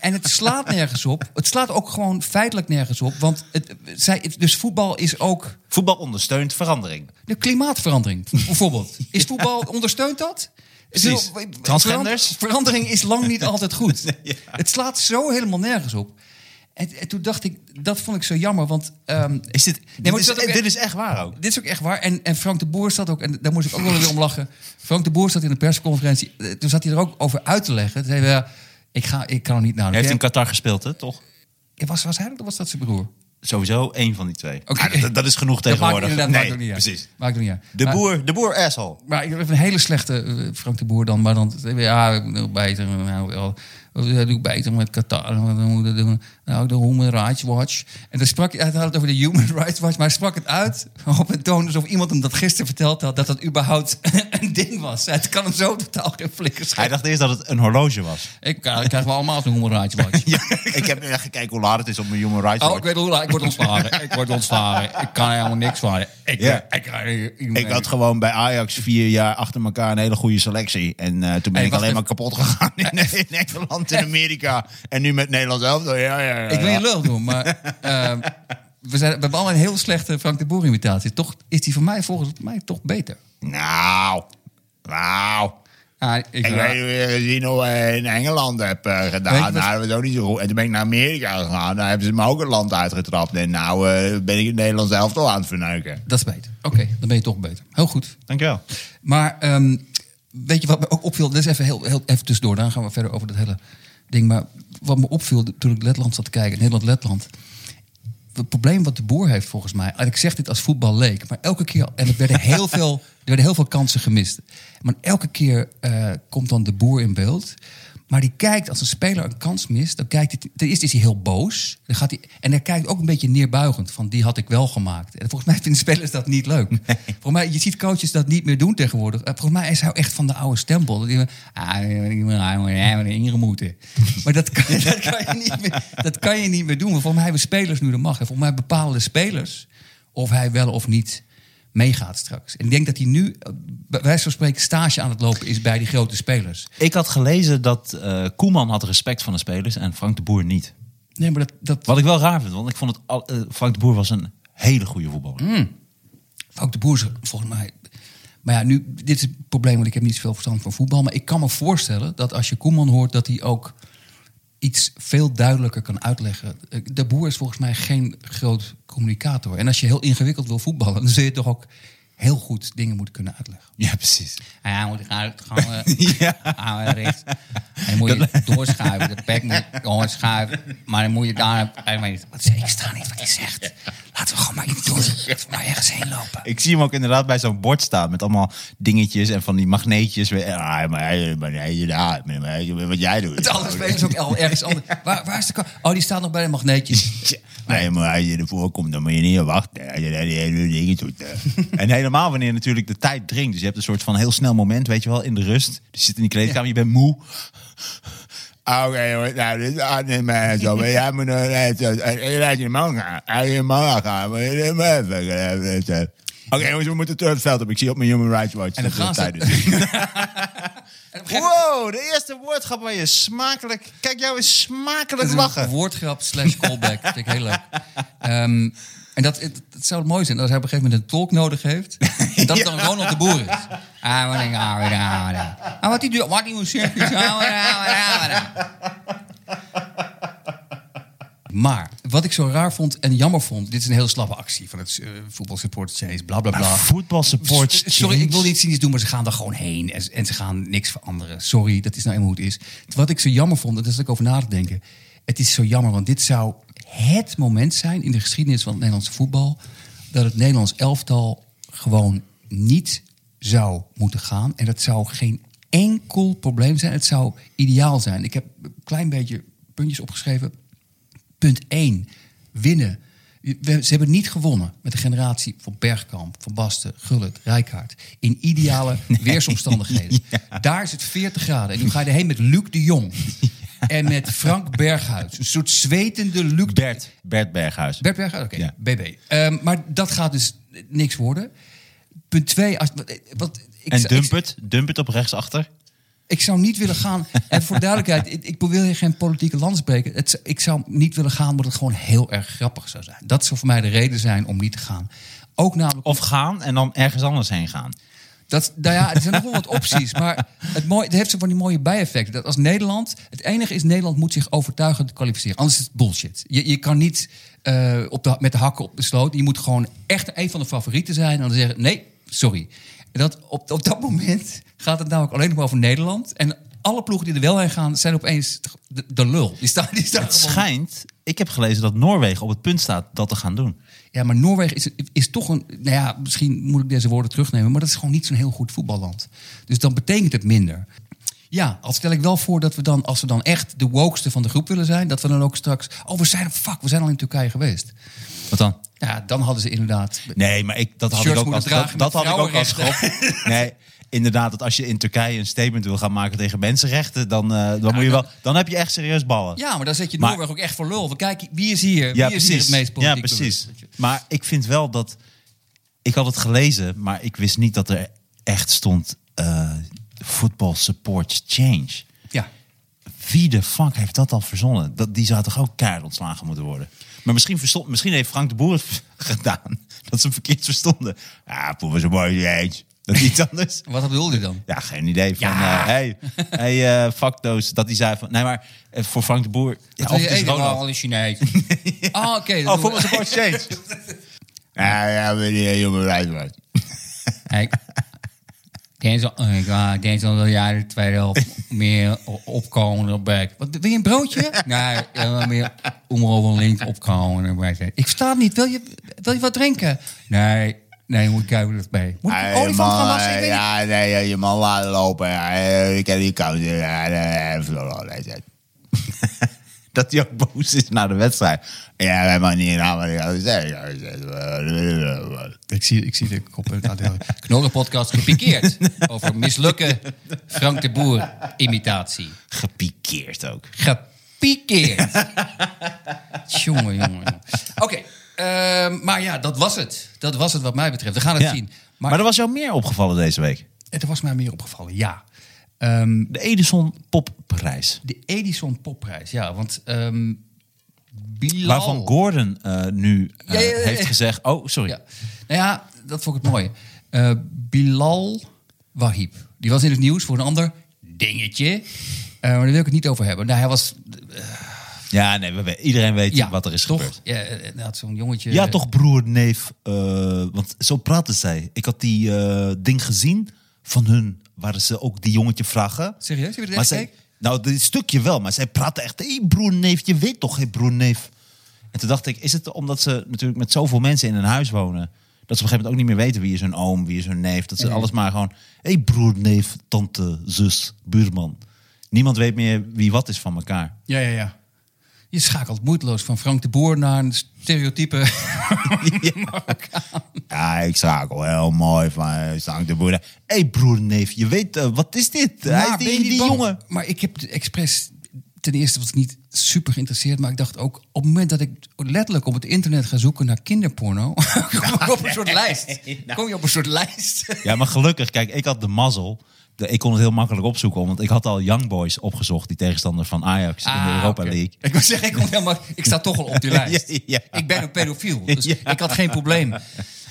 [SPEAKER 2] En het slaat nergens op. Het slaat ook gewoon feitelijk nergens op. Want het, zij, dus voetbal is ook...
[SPEAKER 3] Voetbal ondersteunt verandering.
[SPEAKER 2] De klimaatverandering bijvoorbeeld. Is voetbal, ondersteunt dat?
[SPEAKER 3] Precies.
[SPEAKER 2] Ik bedoel,
[SPEAKER 3] Transgenders?
[SPEAKER 2] verand- Verandering is lang niet altijd goed. Het slaat zo helemaal nergens op. En, en toen dacht ik, dat vond ik zo jammer, want... ehm,
[SPEAKER 3] Is dit,
[SPEAKER 2] maar
[SPEAKER 3] dit,
[SPEAKER 2] het
[SPEAKER 3] is,
[SPEAKER 2] zat ook echt-
[SPEAKER 3] dit is echt waar ook.
[SPEAKER 2] dit is ook echt waar. En, en Frank de Boer zat ook, en daar moest ik ook wel weer om lachen. Frank de Boer zat in de persconferentie. eh, Toen zat hij er ook over uit te leggen. Toen zei hij, ja, ik, ga, ik kan er niet naar.
[SPEAKER 3] Hij heeft in
[SPEAKER 2] Ja,
[SPEAKER 3] Qatar gespeeld, hè, toch?
[SPEAKER 2] was, was hij dat of was dat zijn broer?
[SPEAKER 3] Sowieso één van die twee.
[SPEAKER 2] Oké.
[SPEAKER 3] Ah, dat, dat is genoeg
[SPEAKER 2] Dat maakt
[SPEAKER 3] tegenwoordig.
[SPEAKER 2] inderdaad maakt
[SPEAKER 3] nee,
[SPEAKER 2] ook niet uit.
[SPEAKER 3] precies.
[SPEAKER 2] Maakt ook niet uit.
[SPEAKER 3] De
[SPEAKER 2] Maar-
[SPEAKER 3] boer, de boer asshole.
[SPEAKER 2] Maar ik heb een hele slechte eh, Frank de Boer dan. Maar dan, eh, ja, ik moet nog beter. Nou, wel, dat doe ik beter met Qatar. wat moet ik doen? Nou, de Human Rights Watch. En dan sprak hij, hij had het over de Human Rights Watch. Maar hij sprak het uit op een toon alsof iemand hem dat gisteren verteld had. Dat dat überhaupt een ding was. Het kan hem zo totaal geen flikker
[SPEAKER 3] Hij
[SPEAKER 2] schelen.
[SPEAKER 3] dacht eerst dat het een horloge was.
[SPEAKER 2] Ik, ja, dan krijgen we allemaal een Human Rights Watch.
[SPEAKER 3] Ja, ik heb nu echt gekeken hoe laat het is op mijn Human Rights
[SPEAKER 2] Oh,
[SPEAKER 3] Watch.
[SPEAKER 2] ik weet hoe, ik word ontslagen. Ik word ontslagen. Ik kan helemaal niks van. je. Ik,
[SPEAKER 3] Ja.
[SPEAKER 2] ik, ik,
[SPEAKER 3] Ik had gewoon bij Ajax vier jaar achter elkaar een hele goede selectie. En eh, toen ben
[SPEAKER 2] Hey,
[SPEAKER 3] ik
[SPEAKER 2] wacht
[SPEAKER 3] alleen maar
[SPEAKER 2] even.
[SPEAKER 3] kapot gegaan in, in Nederland en Amerika. En nu met Nederland zelf. Ja, ja, ja,
[SPEAKER 2] Ik wil
[SPEAKER 3] ja.
[SPEAKER 2] je lul doen, maar eh, we, zijn, we hebben allemaal een heel slechte Frank de Boer imitatie. Toch is die voor mij volgens mij toch beter.
[SPEAKER 3] Nou, nou.
[SPEAKER 2] Ah, ik,
[SPEAKER 3] Ik weet hoe je gezien hoe eh, in Engeland heb eh,
[SPEAKER 2] Weet je
[SPEAKER 3] gedaan.
[SPEAKER 2] wat-
[SPEAKER 3] Nou, dat was ook niet zo goed. En toen ben ik naar Amerika gegaan. Daar hebben ze me ook het land uitgetrapt. En nou eh, ben ik in Nederland zelf al aan het verneuken.
[SPEAKER 2] dat is beter. Oké, dan ben je toch beter. Heel goed.
[SPEAKER 3] Dankjewel.
[SPEAKER 2] Maar ehm, weet je wat me ook opviel? Dit is even, heel, heel, even tussendoor, dan gaan we verder over dat hele ding. Maar wat me opviel toen ik Letland zat te kijken, Nederland-Letland. Het probleem wat de boer heeft volgens mij, en ik zeg dit als voetballeek, maar elke keer, en er werden heel veel, er werden heel veel kansen gemist. Maar elke keer eh, komt dan de boer in beeld. Maar die kijkt als een speler een kans mist, dan kijkt hij. Ten eerste is hij heel boos. Dan gaat hij, en hij kijkt ook een beetje neerbuigend van die had ik wel gemaakt. En volgens mij vinden spelers dat niet leuk. Volgens mij, je ziet coaches dat niet meer doen tegenwoordig. Eh, Volgens mij is hij echt van de oude stempel. Dat hij, ah, ik ben erin moeten. Maar dat kan, dat, kan je niet meer, dat kan je niet meer doen. Want volgens mij hebben spelers nu de macht. En volgens mij bepalen de spelers of hij wel of niet meegaat straks. En ik denk dat hij nu, eh, bij wijze van spreken, stage aan het lopen is bij die grote spelers.
[SPEAKER 3] Ik had gelezen dat eh, Koeman had respect van de spelers en Frank de Boer niet.
[SPEAKER 2] Nee, maar dat, dat
[SPEAKER 3] Wat ik wel raar vind, want ik vond het al- eh, Frank de Boer was een hele goede voetballer.
[SPEAKER 2] Mm. Frank de Boer, is volgens mij. Maar ja, nu, dit is het probleem, want ik heb niet zoveel verstand van voetbal. Maar ik kan me voorstellen dat als je Koeman hoort, dat hij ook iets veel duidelijker kan uitleggen. Eh, De Boer is volgens mij geen groot communicator. En als je heel ingewikkeld wil voetballen, dan zul je toch ook heel goed dingen moeten kunnen uitleggen.
[SPEAKER 3] Ja, precies.
[SPEAKER 2] Hij moet eh, eruit gaan.
[SPEAKER 3] Ja.
[SPEAKER 2] ah, Hij moet je doorschuiven. De pek moet doorschuiven. Maar dan moet je daar... Wat zeg ik? sta niet wat hij zegt. Laten we gewoon maar iets doen. Laten we maar ergens heen lopen.
[SPEAKER 3] Ik zie hem ook inderdaad bij zo'n bord staan met allemaal dingetjes en van die magneetjes. Weer, ah, maar hij- maar hij- ja, maar hij- Wat jij doet.
[SPEAKER 2] Het andere spelen is ook al ergens anders. Waar, waar is de ka- Oh, die staat nog bij de magneetjes.
[SPEAKER 3] Nee, maar als je ervoor komt, dan moet je niet wachten. Als je dat hele ding doet, eh. en helemaal wanneer natuurlijk de tijd dringt. Dus je hebt een soort van heel snel moment, weet je wel, in de rust. Dus Je zit in die kleedkamer, je bent moe. Oké, hoor, nou, dit aannemen en zo. Maar eh, jij moet nog even... Laat je man gaan. Laat je man gaan. Maar je moet even- eh, even... Oké, jongens, we moeten terug het veld op. Ik zie op mijn Human Rights Watch.
[SPEAKER 2] En dan
[SPEAKER 3] dat de
[SPEAKER 2] gaan ze.
[SPEAKER 3] tijd is. Wow, de eerste woordgrap waar je smakelijk... Kijk, jou is
[SPEAKER 2] Dat
[SPEAKER 3] smakelijk
[SPEAKER 2] is
[SPEAKER 3] lachen.
[SPEAKER 2] een woordgrap slash callback. Dat vind ik heel leuk. Ehm, en dat, het, het zou mooi zijn als hij op een gegeven moment een tolk nodig heeft. En dat dan Ronald de Boer is. Ah, wat ik- ah, wat ik- ah, wat ik- ah, wat die doet. Wat die moet zeggen. Ah, wat ik- ah, wat ik- ah, wat ik- Maar wat ik zo raar vond en jammer vond... Dit is een heel slappe actie van het eh, voetbalsupporters change, bla bla bla.
[SPEAKER 3] Voetbalsupport.
[SPEAKER 2] S- Sorry, ik wil niet cynisch doen, maar ze gaan er gewoon heen. En, en ze gaan niks veranderen. Sorry, dat is nou eenmaal hoe het is. Wat ik zo jammer vond, en daar zat ik over na te denken. Het is zo jammer, want dit zou het moment zijn in de geschiedenis van het Nederlandse voetbal. Dat het Nederlands elftal gewoon niet zou moeten gaan. En dat zou geen enkel probleem zijn. Het zou ideaal zijn. Ik heb een klein beetje puntjes opgeschreven. Punt 1. Winnen. We- ze hebben niet gewonnen met de generatie van Bergkamp, Van Basten, Gullit, Rijkaard. In ideale weersomstandigheden. Daar is het 40 graden. En nu ga je erheen met Luc de Jong. En met Frank Berghuis. Een soort zwetende Luc de
[SPEAKER 3] Bert, Bert Berghuis.
[SPEAKER 2] Bert Berghuis, oké.
[SPEAKER 3] Ja.
[SPEAKER 2] BB. Ehm, maar dat gaat dus niks worden. Punt 2. Als, wat, wat, ik,
[SPEAKER 3] en
[SPEAKER 2] zou-
[SPEAKER 3] dump
[SPEAKER 2] ik,
[SPEAKER 3] het, dump het op rechtsachter.
[SPEAKER 2] ik zou niet willen gaan. En voor de duidelijkheid, ik, ik wil hier geen politieke lans breken. Het, ik zou niet willen gaan, omdat het gewoon heel erg grappig zou zijn. Dat zou voor mij de reden zijn om niet te gaan. Ook namelijk.
[SPEAKER 3] Of gaan en dan ergens anders heen gaan.
[SPEAKER 2] Dat, nou ja, er zijn nog wel wat opties. Maar het, mooi, het heeft zo van die mooie bijeffecten. Dat als Nederland. Het enige is, Nederland moet zich overtuigend kwalificeren. Anders is het bullshit. Je, je kan niet eh, op de, met de hakken op de sloot. Je moet gewoon echt een van de favorieten zijn. En dan zeggen: nee, sorry. En Dat, op, op dat moment gaat het namelijk alleen nog maar over Nederland. En alle ploegen die er wel heen gaan, zijn opeens de, de lul. Die staan, die staan
[SPEAKER 3] Het
[SPEAKER 2] gewoon-
[SPEAKER 3] schijnt
[SPEAKER 5] Ik heb gelezen dat Noorwegen op het punt staat dat te gaan doen.
[SPEAKER 2] Ja, maar Noorwegen is, is toch een. Nou ja, misschien moet ik deze woorden terugnemen, maar dat is gewoon niet zo'n heel goed voetballand. Dus dan betekent het minder. Ja, al stel ik wel voor dat we dan, als we dan echt de wokeste van de groep willen zijn, dat we dan ook straks. Oh, we zijn, fuck, we zijn al in Turkije geweest.
[SPEAKER 5] Wat dan?
[SPEAKER 2] Ja, dan hadden ze inderdaad.
[SPEAKER 5] Nee, maar ik, dat had ik
[SPEAKER 2] Shirts
[SPEAKER 5] ook als,
[SPEAKER 2] moeten
[SPEAKER 5] dat,
[SPEAKER 2] dragen
[SPEAKER 5] dat
[SPEAKER 2] met
[SPEAKER 5] had ik ook als
[SPEAKER 2] vrouwenrechten.
[SPEAKER 5] schop. Nee, inderdaad, dat als je in Turkije een statement wil gaan maken tegen mensenrechten, dan, eh, dan, moet je wel, dan heb je echt serieus ballen.
[SPEAKER 2] Ja, maar dan zet je
[SPEAKER 5] Maar-
[SPEAKER 2] Noorwegen ook echt voor lul. We kijken, wie is hier?
[SPEAKER 5] Ja,
[SPEAKER 2] wie is hier het meest
[SPEAKER 5] ja,
[SPEAKER 2] politiek
[SPEAKER 5] precies.
[SPEAKER 2] bewust?
[SPEAKER 5] Maar ik vind wel dat. Ik had het gelezen, maar ik wist niet dat er echt stond. eh football supports change.
[SPEAKER 2] Ja.
[SPEAKER 5] Wie de fuck heeft dat dan verzonnen? Dat, die zou toch ook keihard ontslagen moeten worden? Maar misschien, verstond, misschien heeft Frank de Boer het gedaan. Dat ze hem verkeerd verstonden. Ah, poe, was een mooi eens. Dat is iets anders.
[SPEAKER 2] Wat bedoelde je dan?
[SPEAKER 5] Ja, geen idee. Van,
[SPEAKER 2] Ja.
[SPEAKER 5] eh, hey, hey eh, fuck those. Dat hij zei van... Nee, maar eh, voor Frank de Boer...
[SPEAKER 2] Wil
[SPEAKER 5] Ja, of
[SPEAKER 2] je
[SPEAKER 5] het is
[SPEAKER 2] eten?
[SPEAKER 5] Ronald.
[SPEAKER 2] Oh, een Chinees. Ah, oké. dat doen
[SPEAKER 5] Oh, voor
[SPEAKER 2] we.
[SPEAKER 5] een support change. Ja, ja, meneer Jonge Rijswijk.
[SPEAKER 2] Ik denk zo- ik, eh, denk zo dat jij de tweede helft meer o- opkomen op bek. Wat, wil je een broodje? nee, eh, meer omhoog en links opkomen op bek. Ik versta het niet. Wil je, wil je wat drinken? Nee, nee, moet ik kijken dat bij. Moet ik een
[SPEAKER 3] Hey,
[SPEAKER 2] olifant gaan
[SPEAKER 3] man,
[SPEAKER 2] wassen? Ik
[SPEAKER 3] eh,
[SPEAKER 2] weet niet.
[SPEAKER 3] ja, nee, eh, je man laten lopen. Eh, Ik heb die kous. Ja, nee, verloren. Nee, nee.
[SPEAKER 5] Dat hij ook boos is na de wedstrijd.
[SPEAKER 3] Ja, wij man niet nou, aan. maar ik had gezegd, ja, ik zei, eh, eh,
[SPEAKER 2] Ik zie, ik zie de kop. Knorrenpodcast gepikeerd over mislukken Frank de Boer imitatie.
[SPEAKER 5] Gepikeerd ook.
[SPEAKER 2] Gepikeerd. jongen, jongen. jongen. Oké, ehm, maar ja, dat was het. Dat was het wat mij betreft. We gaan het
[SPEAKER 5] Ja.
[SPEAKER 2] zien.
[SPEAKER 5] Maar,
[SPEAKER 2] Maar,
[SPEAKER 5] er was jou meer opgevallen deze week.
[SPEAKER 2] het was mij meer opgevallen, ja. Ehm,
[SPEAKER 5] De Edison Popprijs.
[SPEAKER 2] de Edison Popprijs, ja. Want ehm Bilal...
[SPEAKER 5] Waarvan Gordon eh, nu eh,
[SPEAKER 2] Ja, ja, ja,
[SPEAKER 5] heeft
[SPEAKER 2] ja.
[SPEAKER 5] gezegd... Oh, sorry.
[SPEAKER 2] Ja. Nou ja, dat vond ik het mooie. Eh, Bilal Wahib. Die was in het nieuws voor een ander dingetje. Eh, maar daar wil ik het niet over hebben. Nou, hij was...
[SPEAKER 5] Ja, nee, we, we- iedereen weet
[SPEAKER 2] ja,
[SPEAKER 5] wat er is
[SPEAKER 2] toch?
[SPEAKER 5] gebeurd.
[SPEAKER 2] Ja, eh, hij had zo'n jongetje...
[SPEAKER 5] Ja, toch broer, neef. eh, want zo praten zij. Ik had die eh, ding gezien van hun, waar ze ook die jongetje vragen.
[SPEAKER 2] Serieus? Heb je dat
[SPEAKER 5] Maar
[SPEAKER 2] echt
[SPEAKER 5] zij-
[SPEAKER 2] gekeken?
[SPEAKER 5] Nou, dit stukje wel, maar zij praten echt... Hé, broer, neef, je weet toch, hé, broer, neef. En toen dacht ik, is het omdat ze natuurlijk met zoveel mensen in een huis wonen... dat ze op een gegeven moment ook niet meer weten wie is hun oom, wie is hun neef. Dat ze alles maar gewoon... Hé, broer, neef, tante, zus, buurman. Niemand weet meer wie wat is van elkaar.
[SPEAKER 2] Ja, ja, ja. Je schakelt moeiteloos van Frank de Boer naar een stereotype.
[SPEAKER 3] Ja, ik schakel heel mooi van eh, Stank de Boer.
[SPEAKER 5] Hé, broer, neef, je weet... eh, wat is dit? Hij is
[SPEAKER 2] Maar Nou, ben je
[SPEAKER 5] die,
[SPEAKER 2] niet
[SPEAKER 5] die
[SPEAKER 2] bang?
[SPEAKER 5] jongen.
[SPEAKER 2] Maar ik heb de expres... Ten eerste was ik niet super geïnteresseerd, maar ik dacht ook op het moment dat ik letterlijk op het internet ga zoeken naar kinderporno, kom ik op een soort lijst.
[SPEAKER 5] Nou.
[SPEAKER 2] Kom je op een soort lijst?
[SPEAKER 5] Ja, maar gelukkig, kijk, ik had de mazzel. De, ik kon het heel makkelijk opzoeken, want ik had al Young Boys opgezocht, die tegenstander van Ajax in de
[SPEAKER 2] Ah,
[SPEAKER 5] Europa
[SPEAKER 2] oké.
[SPEAKER 5] League.
[SPEAKER 2] Ik wil zeggen, ik, kom helemaal, ik sta toch al op die lijst.
[SPEAKER 5] Ja, ja.
[SPEAKER 2] Ik ben een pedofiel, dus
[SPEAKER 5] Ja.
[SPEAKER 2] ik had geen probleem.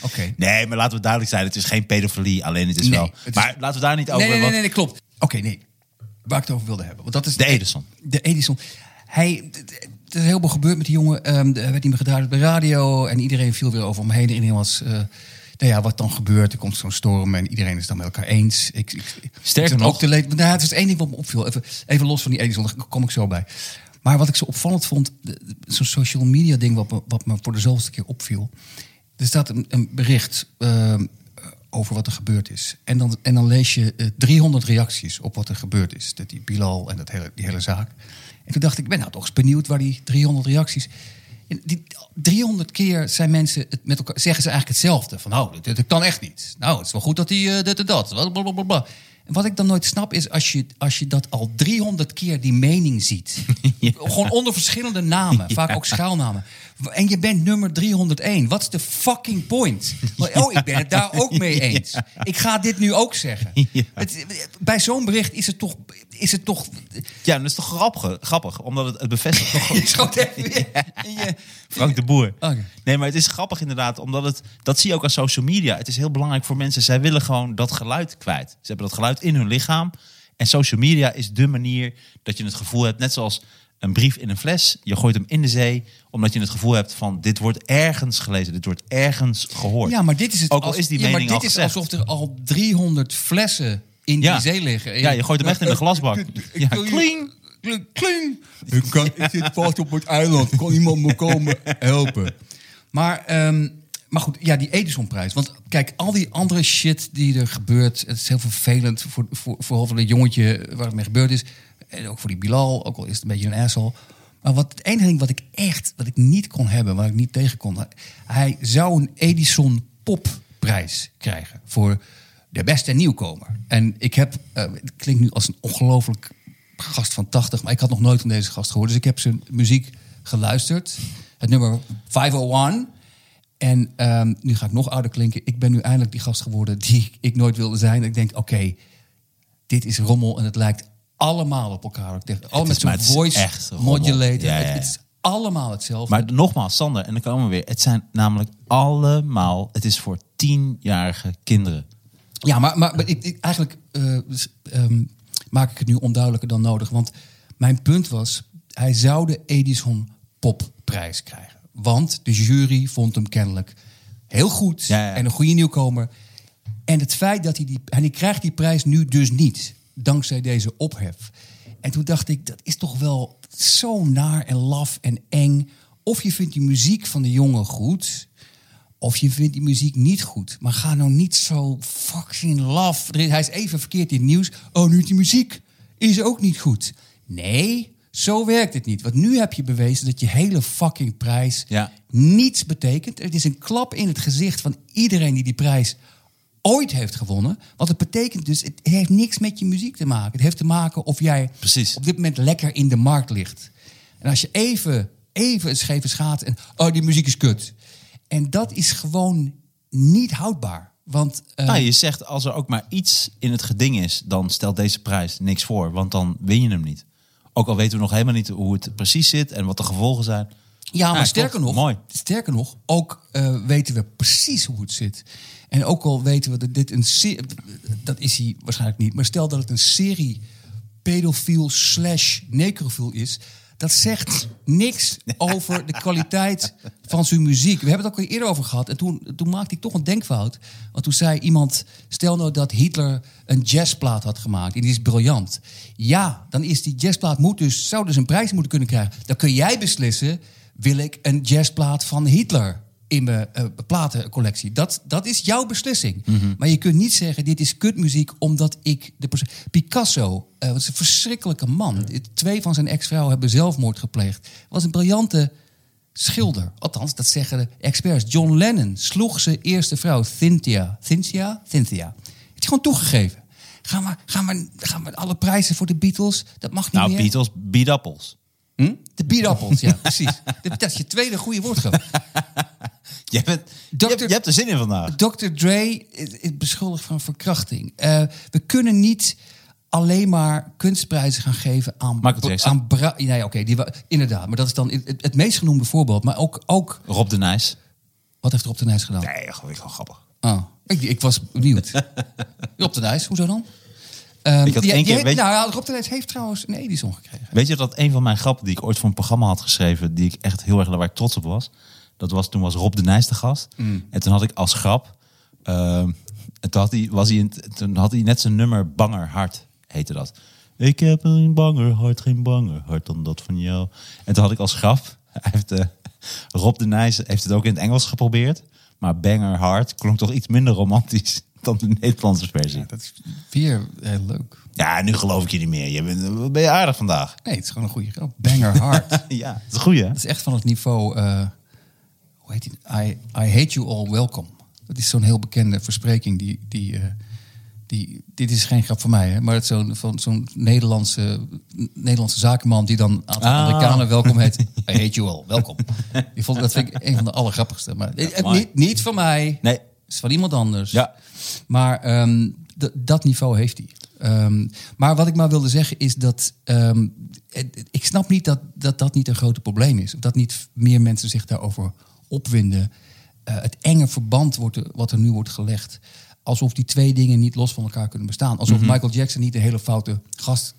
[SPEAKER 2] Oké.
[SPEAKER 5] Nee, maar laten we duidelijk zijn, het is geen pedofilie, alleen het is
[SPEAKER 2] Nee,
[SPEAKER 5] wel.
[SPEAKER 2] het is-
[SPEAKER 5] Maar laten we daar niet over.
[SPEAKER 2] Nee, nee, nee,
[SPEAKER 5] want-
[SPEAKER 2] nee, nee, klopt. Oké, nee. Waar ik het over wilde hebben. Want dat is
[SPEAKER 5] De Edison.
[SPEAKER 2] De Edison. Hij, d- d- er is heel veel gebeurd met die jongen. Ehm, er werd niet meer gedaan op de radio. En iedereen viel weer over omheen. En iedereen was... eh, nou ja, wat dan gebeurt. Er komt zo'n storm en iedereen is dan met elkaar eens. Ik, ik, ik
[SPEAKER 5] Sterker
[SPEAKER 2] zat
[SPEAKER 5] nog-
[SPEAKER 2] Ook te leed, maar nou, het was één ding wat me opviel. Even, even los van die Edison, daar kom ik zo bij. Maar wat ik zo opvallend vond... de- de- Zo'n social media ding wat me, wat me voor de zoveelste keer opviel. Er staat een, een bericht... ehm, over wat er gebeurd is. En dan, en dan lees je eh, 300 reacties op wat er gebeurd is. Dat die Bilal en dat hele, die hele zaak. En toen dacht ik, ik ben nou toch eens benieuwd waar die 300 reacties... En die 300 keer zijn mensen het met elkaar, zeggen ze eigenlijk hetzelfde. Van, nou, dit, dit kan echt niet. Nou, het is wel goed dat hij eh, dit en dat. Blablabla. En wat ik dan nooit snap is als je, als je dat al 300 keer die mening ziet. Gewoon onder verschillende namen. Vaak ook schuilnamen. En je bent nummer 301. Wat is de fucking point? Want, Oh, ik ben het daar ook mee eens. Ik ga dit nu ook zeggen. Het, bij zo'n bericht is het toch... Is het toch
[SPEAKER 5] Ja, dat is toch grappig, grappig omdat het, het bevestigt toch
[SPEAKER 2] je schoot even in je-
[SPEAKER 5] Frank de Boer.
[SPEAKER 2] Oké.
[SPEAKER 5] Nee, maar het is grappig inderdaad, omdat het, dat zie je ook aan social media. Het is heel belangrijk voor mensen. Zij willen gewoon dat geluid kwijt. Ze hebben dat geluid in hun lichaam. En social media is de manier dat je het gevoel hebt, net zoals een brief in een fles. Je gooit hem in de zee, omdat je het gevoel hebt van dit wordt ergens gelezen, dit wordt ergens gehoord.
[SPEAKER 2] Ja, maar dit is het.
[SPEAKER 5] Ook al
[SPEAKER 2] als-
[SPEAKER 5] is die
[SPEAKER 2] ja, maar
[SPEAKER 5] mening
[SPEAKER 2] dit
[SPEAKER 5] al
[SPEAKER 2] is
[SPEAKER 5] gezegd.
[SPEAKER 2] alsof er al 300 flessen in
[SPEAKER 5] Ja.
[SPEAKER 2] die zee liggen. En
[SPEAKER 5] Ja, je gooit hem echt in de
[SPEAKER 2] Eh,
[SPEAKER 5] glasbak.
[SPEAKER 2] ik
[SPEAKER 5] Ja,
[SPEAKER 2] wil je-
[SPEAKER 5] kling.
[SPEAKER 2] klink, klink. Ik, kan, ik zit vast op het eiland. Kan iemand me komen helpen? Maar, ehm, maar goed, ja, die Edisonprijs. Want kijk, al die andere shit die er gebeurt... het is heel vervelend voor, voor, vooral voor dat jongetje waar het mee gebeurd is. En ook voor die Bilal, ook al is het een beetje een asshole. Maar wat, het enige ding wat ik echt wat ik niet kon hebben, wat ik niet tegen kon... hij zou een Edison popprijs krijgen voor de beste nieuwkomer. En ik heb, eh, het klinkt nu als een ongelooflijk gast van 80, maar ik had nog nooit van deze gast gehoord. Dus ik heb zijn muziek geluisterd. Het nummer 501. En ehm, nu ga ik nog ouder klinken. Ik ben nu eindelijk die gast geworden die ik nooit wilde zijn. Ik denk, oké, dit is rommel en het lijkt allemaal op elkaar. Ik denk, al
[SPEAKER 5] is-
[SPEAKER 2] met
[SPEAKER 5] maar
[SPEAKER 2] zo'n
[SPEAKER 5] het is
[SPEAKER 2] voice
[SPEAKER 5] echt rommel.
[SPEAKER 2] modulator.
[SPEAKER 5] Ja, ja, ja.
[SPEAKER 2] Het is allemaal hetzelfde.
[SPEAKER 5] Maar nogmaals, Sander, en dan komen we weer. Het zijn namelijk allemaal, het is voor tienjarige kinderen.
[SPEAKER 2] Ja, maar, maar, maar ik, ik- eigenlijk eh, dus, ehm, maak ik het nu onduidelijker dan nodig. Want mijn punt was, hij zou de Edison Popprijs krijgen. Want de jury vond hem kennelijk heel goed
[SPEAKER 5] Ja, ja.
[SPEAKER 2] en een goede nieuwkomer. En het feit dat hij die... En hij krijgt die prijs nu dus niet, dankzij deze ophef. En toen dacht ik, dat is toch wel zo naar en laf en eng. Of je vindt die muziek van de jongen goed... Of je vindt die muziek niet goed. Maar ga nou niet zo fucking laf. Er is- Hij is even verkeerd in het nieuws. Oh, nu die muziek is ook niet goed. Nee, zo werkt het niet. Want nu heb je bewezen dat je hele fucking prijs
[SPEAKER 5] Ja.
[SPEAKER 2] niets betekent. Het is een klap in het gezicht van iedereen die die prijs ooit heeft gewonnen. Want het betekent dus, het heeft niks met je muziek te maken. Het heeft te maken of jij
[SPEAKER 5] Precies.
[SPEAKER 2] op dit moment lekker in de markt ligt. En als je even, even een scheve schaat en... Oh, die muziek is kut. En dat is gewoon niet houdbaar. Want eh,
[SPEAKER 5] Nou, je zegt, als er ook maar iets in het geding is, dan stelt deze prijs niks voor, want dan win je hem niet. Ook al weten we nog helemaal niet hoe het precies zit en wat de gevolgen zijn.
[SPEAKER 2] Ja, maar
[SPEAKER 5] klopt.
[SPEAKER 2] sterker, nog,
[SPEAKER 5] Mooi.
[SPEAKER 2] sterker nog, ook eh, weten we precies hoe het zit. En ook al weten we dat dit een serie... Dat is hij waarschijnlijk niet. Maar stel dat het een serie pedofiel slash necrofiel is... Dat zegt niks over de kwaliteit van zijn muziek. We hebben het ook al eerder over gehad. En toen, toen maakte ik toch een denkfout. Want toen zei iemand... Stel nou dat Hitler een jazzplaat had gemaakt. En die is briljant. Ja, dan is die jazzplaat... Moet dus, zou dus een prijs moeten kunnen krijgen. Dan kun jij beslissen wil ik een jazzplaat van Hitler in mijn eh, platencollectie. Dat, dat is jouw beslissing.
[SPEAKER 5] Mhm.
[SPEAKER 2] Maar je kunt niet zeggen, dit is kutmuziek omdat ik... De perso- Picasso eh, was een verschrikkelijke man. Twee van zijn ex-vrouwen hebben zelfmoord gepleegd. Was een briljante schilder. Althans, dat zeggen de experts. John Lennon sloeg zijn eerste vrouw, Cynthia. Cynthia? Cynthia. Heeft hij gewoon toegegeven. Gaan we, gaan, we, gaan we alle prijzen voor de Beatles? Dat mag niet
[SPEAKER 5] Nou,
[SPEAKER 2] meer.
[SPEAKER 5] Beatles, biedappels.
[SPEAKER 2] Hm? De bierappels, ja, precies. Dat is je tweede goede woordgrap.
[SPEAKER 5] Je, bent, je,
[SPEAKER 2] Dr.
[SPEAKER 5] hebt, je hebt er zin in vandaag.
[SPEAKER 2] Dr. Dre is is beschuldigd van verkrachting. Eh, we kunnen niet alleen maar kunstprijzen gaan geven aan...
[SPEAKER 5] Michael Jackson.
[SPEAKER 2] Aan bra- nee, oké, die wa- inderdaad. Maar dat is dan het, het- het meest genoemde voorbeeld. Maar ook, ook
[SPEAKER 5] Rob de Nijs.
[SPEAKER 2] wat heeft Rob de Nijs gedaan?
[SPEAKER 3] Nee, gewoon, gewoon grappig.
[SPEAKER 2] Ah, ik, ik was benieuwd. Rob de Nijs, hoezo dan? Ehm,
[SPEAKER 5] Ik had
[SPEAKER 2] die-
[SPEAKER 5] één
[SPEAKER 2] die
[SPEAKER 5] keer-
[SPEAKER 2] heeft-
[SPEAKER 5] weet je-
[SPEAKER 2] nou, ja, Rob de Nijs heeft trouwens een Edison gekregen.
[SPEAKER 5] Weet je dat een van mijn grappen die ik ooit voor een programma had geschreven, die ik echt heel erg waar ik trots op was, dat was toen was Rob de Nijs de gast. En toen had ik als grap, ehm, en toen, had hij, was hij in, toen had hij net zijn nummer Banger Hart, heette dat. Ik heb een banger hart, geen banger hart dan dat van jou. En toen had ik als grap, hij heeft, eh, Rob de Nijs heeft het ook in het Engels geprobeerd, maar Banger Hart klonk toch iets minder romantisch dan de Nederlandse versie.
[SPEAKER 2] Dat is weer heel leuk.
[SPEAKER 5] Ja, nu geloof ik je niet meer. Je bent, wat ben je aardig vandaag?
[SPEAKER 2] Nee, het is gewoon een goede grap. Banger hard.
[SPEAKER 5] Ja, het is goed hè?
[SPEAKER 2] Dat is echt van het niveau. eh, hoe heet die? I, I hate you all, welcome. Dat is zo'n heel bekende verspreking. Die, die, eh, die, dit is geen grap van mij, hè, maar het is zo'n, van zo'n Nederlandse, Nederlandse zakenman die dan een aantal
[SPEAKER 5] Ah.
[SPEAKER 2] Amerikanen welkom heet. I hate you all, welkom. Die vond, dat vind ik een van de allergrappigste. Maar, eh,
[SPEAKER 5] mooi.
[SPEAKER 2] niet, niet van mij,
[SPEAKER 5] Nee.
[SPEAKER 2] is van iemand anders.
[SPEAKER 5] Ja.
[SPEAKER 2] Maar ehm, d- dat niveau heeft hij. Ehm, maar wat ik maar wilde zeggen is dat ehm, het- het- ik snap niet dat, dat dat niet een grote probleem is. Of dat niet meer mensen zich daarover opwinden. Eh, het enge verband wordt er- wat er nu wordt gelegd. Alsof die twee dingen niet los van elkaar kunnen bestaan. Alsof
[SPEAKER 5] Mhm.
[SPEAKER 2] Michael Jackson niet een hele foute gast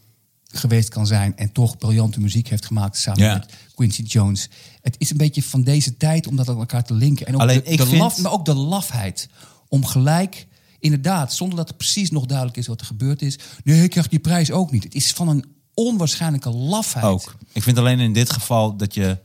[SPEAKER 2] geweest kan zijn. En toch briljante muziek heeft gemaakt samen
[SPEAKER 5] Ja.
[SPEAKER 2] met Quincy Jones. Het is een beetje van deze tijd om dat aan elkaar te linken. En ook
[SPEAKER 5] Alleen
[SPEAKER 2] de,
[SPEAKER 5] ik
[SPEAKER 2] de
[SPEAKER 5] vind-
[SPEAKER 2] laf- maar ook de lafheid om gelijk, inderdaad, zonder dat het precies nog duidelijk is wat er gebeurd is. Nee, ik krijg die prijs ook niet. Het is van een onwaarschijnlijke lafheid.
[SPEAKER 5] Ook. Ik vind alleen in dit geval dat je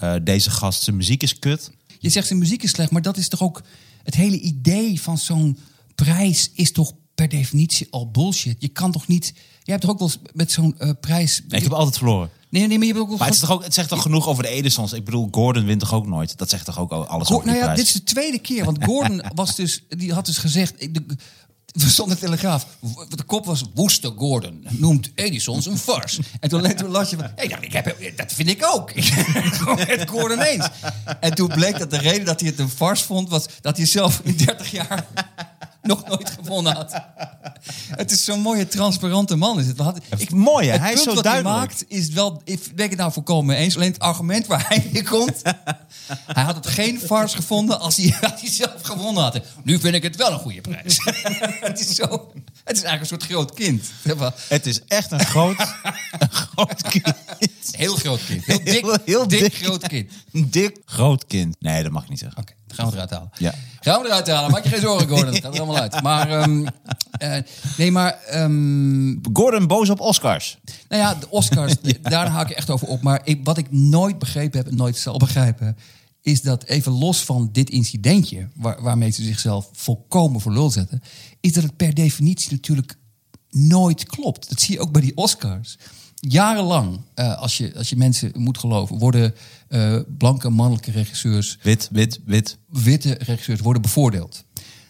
[SPEAKER 5] eh, deze gast, zijn muziek is kut.
[SPEAKER 2] Je zegt de muziek is slecht, maar dat is toch ook het hele idee van zo'n prijs is toch per definitie al bullshit. Je kan toch niet. Jij hebt toch ook wel eens met zo'n eh, prijs.
[SPEAKER 5] Nee, ik heb altijd verloren.
[SPEAKER 2] Nee, nee, maar je hebt ook wel.
[SPEAKER 5] Maar het, is toch ook, het zegt toch genoeg over de Edisons? Ik bedoel, Gordon wint toch ook nooit? Dat zegt toch ook al- alles
[SPEAKER 2] Go-
[SPEAKER 5] over die
[SPEAKER 2] nou ja,
[SPEAKER 5] prijs?
[SPEAKER 2] dit is de tweede keer. Want Gordon was dus, die had dus gezegd. ik- De, er stond de telegraaf. w- De kop was Woester Gordon. Noemt Edison's een farce. En toen, toen las je van. Hey, nou, ik heb, dat vind ik ook. Ik ben het met Gordon eens. En toen bleek dat de reden dat hij het een farce vond. was dat hij zelf in 30 jaar nog nooit gewonnen had. Het is zo'n mooie, transparante man. Is het. We hadden-
[SPEAKER 5] is mooi, hè?
[SPEAKER 2] het
[SPEAKER 5] Hij is
[SPEAKER 2] punt
[SPEAKER 5] zo
[SPEAKER 2] wat
[SPEAKER 5] duidelijk.
[SPEAKER 2] maakt is wel, ik ben ik het nou volkomen mee eens. Alleen het argument waar hij mee komt. hij had het geen farce gevonden als hij, als hij zelf gewonnen had. Nu vind ik het wel een goede prijs. het, is zo, het is eigenlijk een soort groot kind.
[SPEAKER 5] Het is echt een groot, een groot kind.
[SPEAKER 2] Heel groot kind. Heel dik,
[SPEAKER 5] Heel- heel
[SPEAKER 2] dik,
[SPEAKER 5] dik.
[SPEAKER 2] groot kind. Oké,
[SPEAKER 5] Een dik groot kind. Nee, dat mag ik niet zeggen.
[SPEAKER 2] dat gaan we eruit halen.
[SPEAKER 5] Ja.
[SPEAKER 2] Gaan we eruit halen. Maak je geen zorgen, Gordon. Dat gaat er allemaal uit. Maar, ehm, eh, nee, maar ehm,
[SPEAKER 5] Gordon boos op Oscars.
[SPEAKER 2] Nou ja, de Oscars, daar haak ik echt over op. Maar ik, wat ik nooit begrepen heb en nooit zal begrijpen... is dat even los van dit incidentje... Waar, waarmee ze zichzelf volkomen voor lul zetten... is dat het per definitie natuurlijk nooit klopt. Dat zie je ook bij die Oscars. Jarenlang, eh, als, je, als je mensen moet geloven... worden eh, blanke mannelijke regisseurs
[SPEAKER 5] Wit, wit, wit.
[SPEAKER 2] witte regisseurs worden bevoordeeld.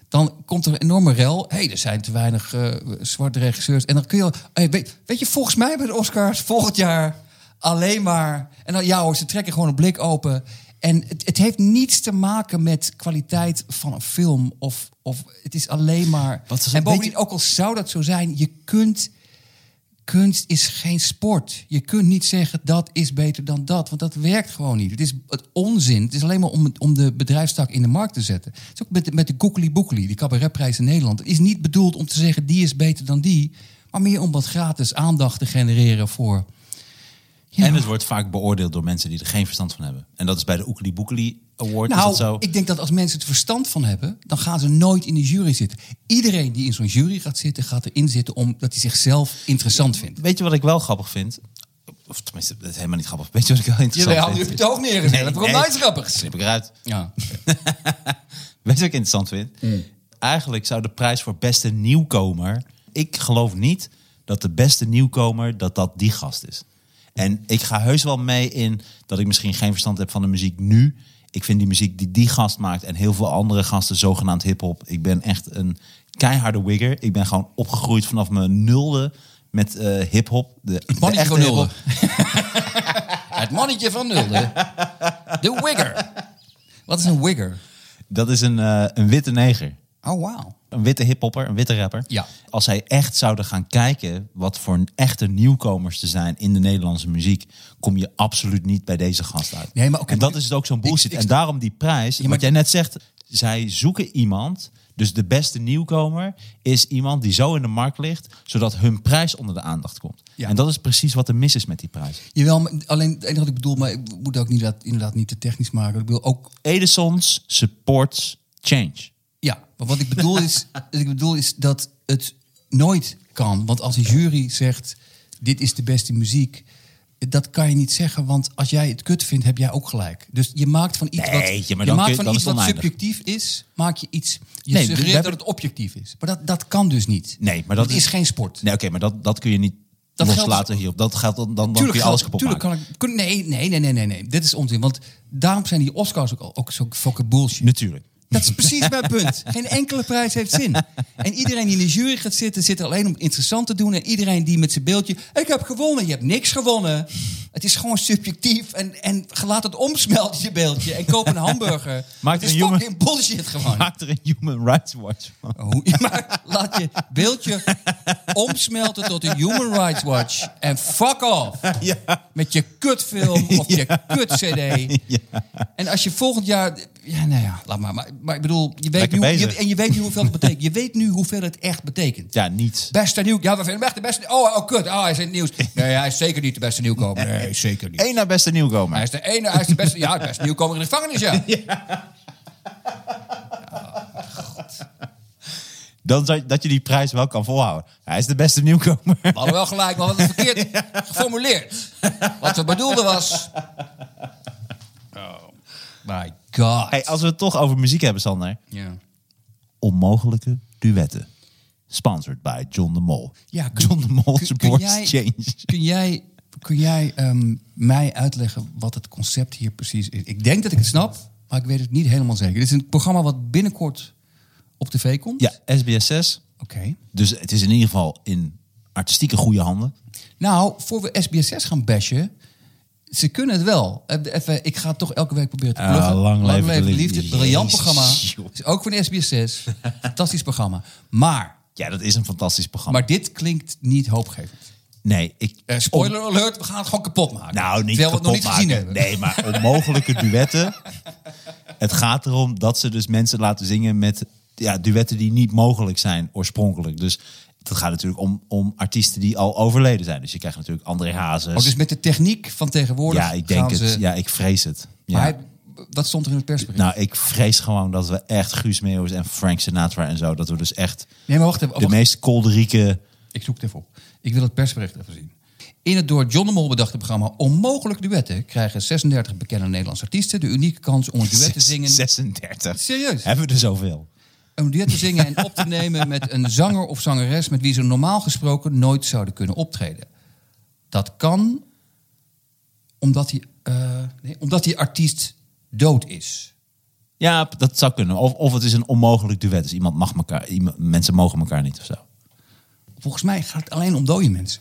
[SPEAKER 2] Dan komt er een enorme rel. Hé, hey, er zijn te weinig eh, zwarte regisseurs. En dan kun je. al- Hey, weet, weet je, volgens mij bij de Oscars volgend jaar alleen maar. En dan, ja hoor, ze trekken gewoon een blik open. En het, het heeft niets te maken met kwaliteit van een film. Of, of het is alleen maar.
[SPEAKER 5] Wat is een
[SPEAKER 2] en bovendien,
[SPEAKER 5] beetje-
[SPEAKER 2] ook al zou dat zo zijn, je kunt. Kunst is geen sport. Je kunt niet zeggen dat is beter dan dat, want dat werkt gewoon niet. Het is het onzin. Het is alleen maar om, het- om de bedrijfstak in de markt te zetten. Het is ook met, de- met de Goekely Boekely, die cabaretprijs in Nederland. Het is niet bedoeld om te zeggen die is beter dan die, maar meer om wat gratis aandacht te genereren voor. Ja.
[SPEAKER 5] En het wordt vaak beoordeeld door mensen die er geen verstand van hebben. En dat is bij de Oekeli Boekeli Award. is
[SPEAKER 2] Nou,
[SPEAKER 5] dat zo?
[SPEAKER 2] ik denk dat als mensen het verstand van hebben, dan gaan ze nooit in de jury zitten. Iedereen die in zo'n jury gaat zitten, gaat erin zitten omdat hij zichzelf interessant vindt.
[SPEAKER 5] Weet je wat ik wel grappig vind? Of tenminste, dat is helemaal niet grappig. Weet je wat ik wel interessant
[SPEAKER 2] Jawel, nu
[SPEAKER 5] vind?
[SPEAKER 2] heb je het hoofd neergezet.
[SPEAKER 5] Nee,
[SPEAKER 2] Dat begon
[SPEAKER 5] nee.
[SPEAKER 2] mij grappig.
[SPEAKER 5] Knip ik eruit.
[SPEAKER 2] Ja.
[SPEAKER 5] Weet je wat ik interessant vind?
[SPEAKER 2] Mm.
[SPEAKER 5] Eigenlijk zou de prijs voor beste nieuwkomer... Ik geloof niet dat de beste nieuwkomer dat dat die gast is. En ik ga heus wel mee in dat ik misschien geen verstand heb van de muziek nu. Ik vind die muziek die die gast maakt en heel veel andere gasten zogenaamd hiphop. Ik ben echt een keiharde wigger. Ik ben gewoon opgegroeid vanaf mijn nulde met eh hiphop. De, de
[SPEAKER 2] mannetje
[SPEAKER 5] echte
[SPEAKER 2] van nul.
[SPEAKER 5] hiphop.
[SPEAKER 2] Het mannetje van nul, hè? De wigger. Wat is een wigger?
[SPEAKER 5] Dat is een, eh, een witte neger.
[SPEAKER 2] Oh, wauw.
[SPEAKER 5] Een witte hiphopper, een witte rapper.
[SPEAKER 2] Ja.
[SPEAKER 5] Als zij echt zouden gaan kijken wat voor een echte nieuwkomers te zijn in de Nederlandse muziek, kom je absoluut niet bij deze gast uit.
[SPEAKER 2] Nee, maar oké,
[SPEAKER 5] en dat
[SPEAKER 2] maar-
[SPEAKER 5] is het ook zo'n bullshit.
[SPEAKER 2] Ik- ik-
[SPEAKER 5] en daarom die prijs, wat jij net zegt, zij zoeken iemand. Dus de beste nieuwkomer is iemand die zo in de markt ligt, zodat hun prijs onder de aandacht komt.
[SPEAKER 2] Ja.
[SPEAKER 5] En dat is precies wat er mis is met die prijs.
[SPEAKER 2] Jawel, maar alleen het enige wat ik bedoel, maar ik moet ook niet, dat- inderdaad niet te technisch maken. Ik bedoel ook,
[SPEAKER 5] Edison's supports change.
[SPEAKER 2] ja, maar wat ik bedoel is, wat ik bedoel is dat het nooit kan. Want als een jury zegt, dit is de beste muziek, dat kan je niet zeggen. Want als jij het kut vindt, heb jij ook gelijk. Dus je maakt van iets
[SPEAKER 5] Nee,
[SPEAKER 2] wat,
[SPEAKER 5] ja,
[SPEAKER 2] je
[SPEAKER 5] maar dan
[SPEAKER 2] maakt
[SPEAKER 5] kun je-
[SPEAKER 2] van
[SPEAKER 5] dan
[SPEAKER 2] iets
[SPEAKER 5] is het
[SPEAKER 2] wat
[SPEAKER 5] oneindig.
[SPEAKER 2] subjectief is, maak je iets. Je
[SPEAKER 5] Nee, we
[SPEAKER 2] suggereert
[SPEAKER 5] hebben-
[SPEAKER 2] dat het objectief is. Maar dat, dat kan dus niet.
[SPEAKER 5] Nee, maar dat
[SPEAKER 2] Het is geen sport.
[SPEAKER 5] Nee, oké, maar dat, dat kun je niet
[SPEAKER 2] Dat geldt-
[SPEAKER 5] loslaten hierop. Dat gaat dan, dan, dan kun je alles kapot
[SPEAKER 2] tuurlijk
[SPEAKER 5] maken.
[SPEAKER 2] kan ik. kun- nee, nee, nee, nee, nee, nee. Dit is onzin. Want daarom zijn die Oscars ook, al- ook zo fucking bullshit.
[SPEAKER 5] Natuurlijk.
[SPEAKER 2] Dat is precies mijn punt. Geen enkele prijs heeft zin. En iedereen die in de jury gaat zitten, zit er alleen om interessant te doen. En iedereen die met zijn beeldje. Ik heb gewonnen, je hebt niks gewonnen. Het is gewoon subjectief. En, en laat het omsmelten, je beeldje. En koop een hamburger.
[SPEAKER 5] Maakt
[SPEAKER 2] het is
[SPEAKER 5] een jongen-
[SPEAKER 2] fucking bullshit gewoon.
[SPEAKER 5] Maak er een Human Rights Watch van.
[SPEAKER 2] Hoe- Maar laat je beeldje omsmelten tot een Human Rights Watch. En fuck off. Met je kutfilm of je kut-cd. En als je volgend jaar... Ja, nou ja, laat maar. Maar, maar ik bedoel, je weet,
[SPEAKER 5] Lekker
[SPEAKER 2] nu, je,
[SPEAKER 5] bezig.
[SPEAKER 2] en je weet nu hoeveel het betekent. Je weet nu hoeveel het echt betekent.
[SPEAKER 5] Ja, niets.
[SPEAKER 2] Beste nieuw... Ja, we vinden hem echt de beste... Oh, oh kut. Oh, hij is in het nieuws. Nee, hij is zeker niet de beste nieuwkomer. Nee, zeker niet.
[SPEAKER 5] Eén naar beste nieuwkomer.
[SPEAKER 2] Hij is de ene, hij is de beste... Ja, de beste nieuwkomer in de gevangenis, ja.
[SPEAKER 5] dan zou- dat je die prijs wel kan volhouden. Hij is de beste nieuwkomer.
[SPEAKER 6] We hadden wel gelijk, maar we hadden het verkeerd geformuleerd. Wat we bedoelden was... Oh my god.
[SPEAKER 5] Hey, als we het toch over muziek hebben, Sander.
[SPEAKER 6] Ja.
[SPEAKER 5] Onmogelijke duetten. Sponsored by John de Mol. Ja, John de Mol
[SPEAKER 2] Kun-
[SPEAKER 5] supports
[SPEAKER 2] kun jij-
[SPEAKER 5] change.
[SPEAKER 2] Kun jij, kun jij ehm, mij uitleggen wat het concept hier precies is? Ik denk dat ik het snap, maar ik weet het niet helemaal zeker. Dit is een programma wat binnenkort op tv komt.
[SPEAKER 5] Ja, SBS6.
[SPEAKER 2] Oké.
[SPEAKER 5] Dus het is in ieder geval in artistieke goede handen.
[SPEAKER 2] Nou, voor we SBS6 gaan bashen. Ze kunnen het wel. Even, ik ga het toch elke week proberen te
[SPEAKER 5] Ah,
[SPEAKER 2] pluggen.
[SPEAKER 5] lang leven de liefde.
[SPEAKER 2] Briljant
[SPEAKER 5] Jezus,
[SPEAKER 2] programma.
[SPEAKER 5] joh.
[SPEAKER 2] Is ook van SBS6. Fantastisch programma. Maar,
[SPEAKER 5] Ja, dat is een fantastisch programma.
[SPEAKER 2] maar dit klinkt niet hoopgevend.
[SPEAKER 5] nee, ik...
[SPEAKER 6] Eh, spoiler alert, we gaan het gewoon kapot maken.
[SPEAKER 5] Oh. Nou, niet
[SPEAKER 6] Terwijl we het nog
[SPEAKER 5] kapot
[SPEAKER 6] niet gezien
[SPEAKER 5] maken.
[SPEAKER 6] hebben.
[SPEAKER 5] Nee, maar onmogelijke duetten. Het gaat erom dat ze dus mensen laten zingen met ja, duetten die niet mogelijk zijn oorspronkelijk. Dus het gaat natuurlijk om, om artiesten die al overleden zijn. Dus je krijgt natuurlijk André Hazes.
[SPEAKER 2] Oh, dus met de techniek van tegenwoordig
[SPEAKER 5] ja, ik denk
[SPEAKER 2] gaan
[SPEAKER 5] het.
[SPEAKER 2] ze...
[SPEAKER 5] Ja, ik vrees het. Ja.
[SPEAKER 2] Maar hij- wat stond er in het persbericht?
[SPEAKER 5] Nou, ik vrees gewoon dat we echt Guus Meeuwis en Frank Sinatra en zo... dat we dus echt
[SPEAKER 2] nee, maar wacht even.
[SPEAKER 5] de
[SPEAKER 2] Oh, Wacht,
[SPEAKER 5] meest kolderieke...
[SPEAKER 2] Ik zoek het even op. Ik wil het persbericht even zien. In het door John de Mol bedachte programma Onmogelijk Duetten... krijgen 36 bekende Nederlandse artiesten de unieke kans om een duet te zingen...
[SPEAKER 5] 36.
[SPEAKER 2] Serieus?
[SPEAKER 5] Hebben we er zoveel?
[SPEAKER 2] een duet te zingen en op te nemen met een zanger of zangeres met wie ze normaal gesproken nooit zouden kunnen optreden. Dat kan omdat die, eh, nee, omdat die artiest dood is.
[SPEAKER 5] Ja, p- dat zou kunnen. Of, of het is een onmogelijk duet. Dus iemand mag elkaar, iemand- mensen mogen elkaar niet of zo.
[SPEAKER 2] Volgens mij gaat het alleen om dode mensen.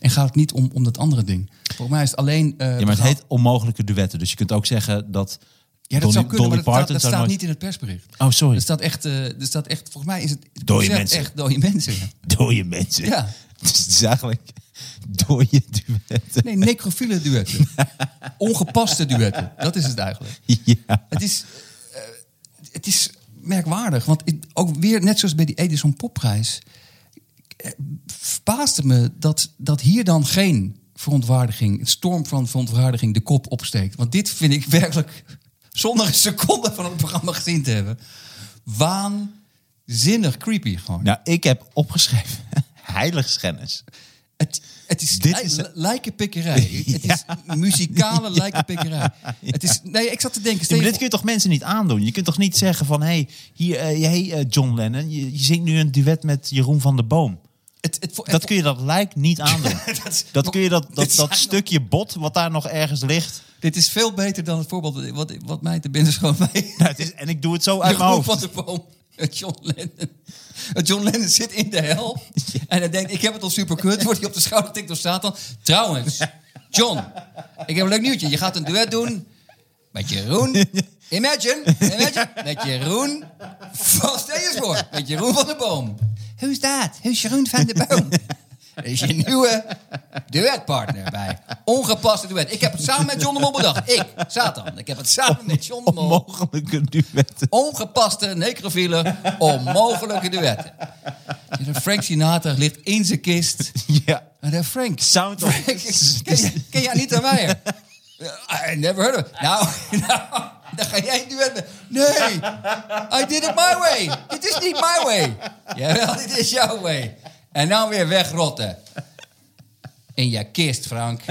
[SPEAKER 2] En gaat het niet om, om dat andere ding. Volgens mij is het alleen. eh,
[SPEAKER 5] Ja, maar het
[SPEAKER 2] verhaal-
[SPEAKER 5] heet onmogelijke duetten. Dus je kunt ook zeggen dat.
[SPEAKER 2] Ja, dat
[SPEAKER 5] Dolly-
[SPEAKER 2] zou kunnen,
[SPEAKER 5] Dolly
[SPEAKER 2] maar dat, staat-
[SPEAKER 5] Parton
[SPEAKER 2] dat
[SPEAKER 5] zou
[SPEAKER 2] staat
[SPEAKER 5] nooit-
[SPEAKER 2] niet in het persbericht.
[SPEAKER 5] Oh, sorry.
[SPEAKER 2] Er staat echt, eh, er staat echt volgens mij is het het
[SPEAKER 5] Dode
[SPEAKER 2] concept
[SPEAKER 5] mensen.
[SPEAKER 2] echt dode mensen.
[SPEAKER 5] Dooie mensen.
[SPEAKER 2] Ja.
[SPEAKER 5] Dus het is eigenlijk dooie duetten.
[SPEAKER 2] Nee, necrofiele duetten. Ongepaste duetten. Dat is het eigenlijk.
[SPEAKER 5] Ja.
[SPEAKER 2] Het is, eh, het is merkwaardig. Want het- ook weer, net zoals bij die Edison Popprijs... eh, verbaasde me dat, dat hier dan geen verontwaardiging... het storm van verontwaardiging de kop opsteekt. Want dit vind ik werkelijk... zonder een seconde van het programma gezien te hebben... waanzinnig creepy gewoon.
[SPEAKER 5] Nou, ik heb opgeschreven. Heiligschennis.
[SPEAKER 2] Het, het is,
[SPEAKER 5] Dit
[SPEAKER 2] li-
[SPEAKER 5] is-
[SPEAKER 2] li- lijkenpikkerij. Het is muzikale lijkenpikkerij. Het is, nee, ik zat te denken...
[SPEAKER 5] Ja,
[SPEAKER 2] stel
[SPEAKER 5] maar
[SPEAKER 2] je
[SPEAKER 5] dit kun je toch mensen niet aandoen? Je kunt toch niet zeggen van... hey, hier, eh, hey eh, John Lennon, je, je zingt nu een duet met Jeroen van der Boom.
[SPEAKER 2] Het, het, het-
[SPEAKER 5] Dat kun je dat lijk niet aandoen.
[SPEAKER 2] Dat is-
[SPEAKER 5] dat kun je dat,
[SPEAKER 2] Dit
[SPEAKER 5] dat,
[SPEAKER 2] is
[SPEAKER 5] dat stukje bot wat daar nog ergens ligt.
[SPEAKER 2] Dit is veel beter dan het voorbeeld wat, wat mij te binnen schoot bij
[SPEAKER 5] Nou, het is, en ik doe het zo uit mijn
[SPEAKER 2] Jeroen
[SPEAKER 5] hoofd.
[SPEAKER 2] van de Boom. en John Lennon. En John Lennon zit in de hel. En hij denkt, ik heb het al super kut. Wordt hij op de schouder getikt door Satan. Trouwens, John, ik heb een leuk nieuwtje. Je gaat een duet doen met Jeroen. Imagine, imagine, met Jeroen van Steenspoor. Met Jeroen van de Boom. Who's that? Who's Jeroen van de Boom? Er is je nieuwe duetpartner bij. Ongepaste duet. Ik heb het samen met John de Mol bedacht. Ik, Satan. Ik heb het samen met John de Mol
[SPEAKER 5] Onmogelijke duetten.
[SPEAKER 2] ongepaste, necrofiele, onmogelijke duetten. De Frank Sinatra ligt in zijn kist.
[SPEAKER 5] Ja.
[SPEAKER 2] En de Frank.
[SPEAKER 5] Sound of...
[SPEAKER 2] Frank, ken je, ken je Anita Meijer? I never heard of it. Nou, nou, dan ga jij een duet met- Nee, I did it my way. Dit is niet my way. Jawel, dit is jouw way. En nou weer wegrotten. In je kist, Frank.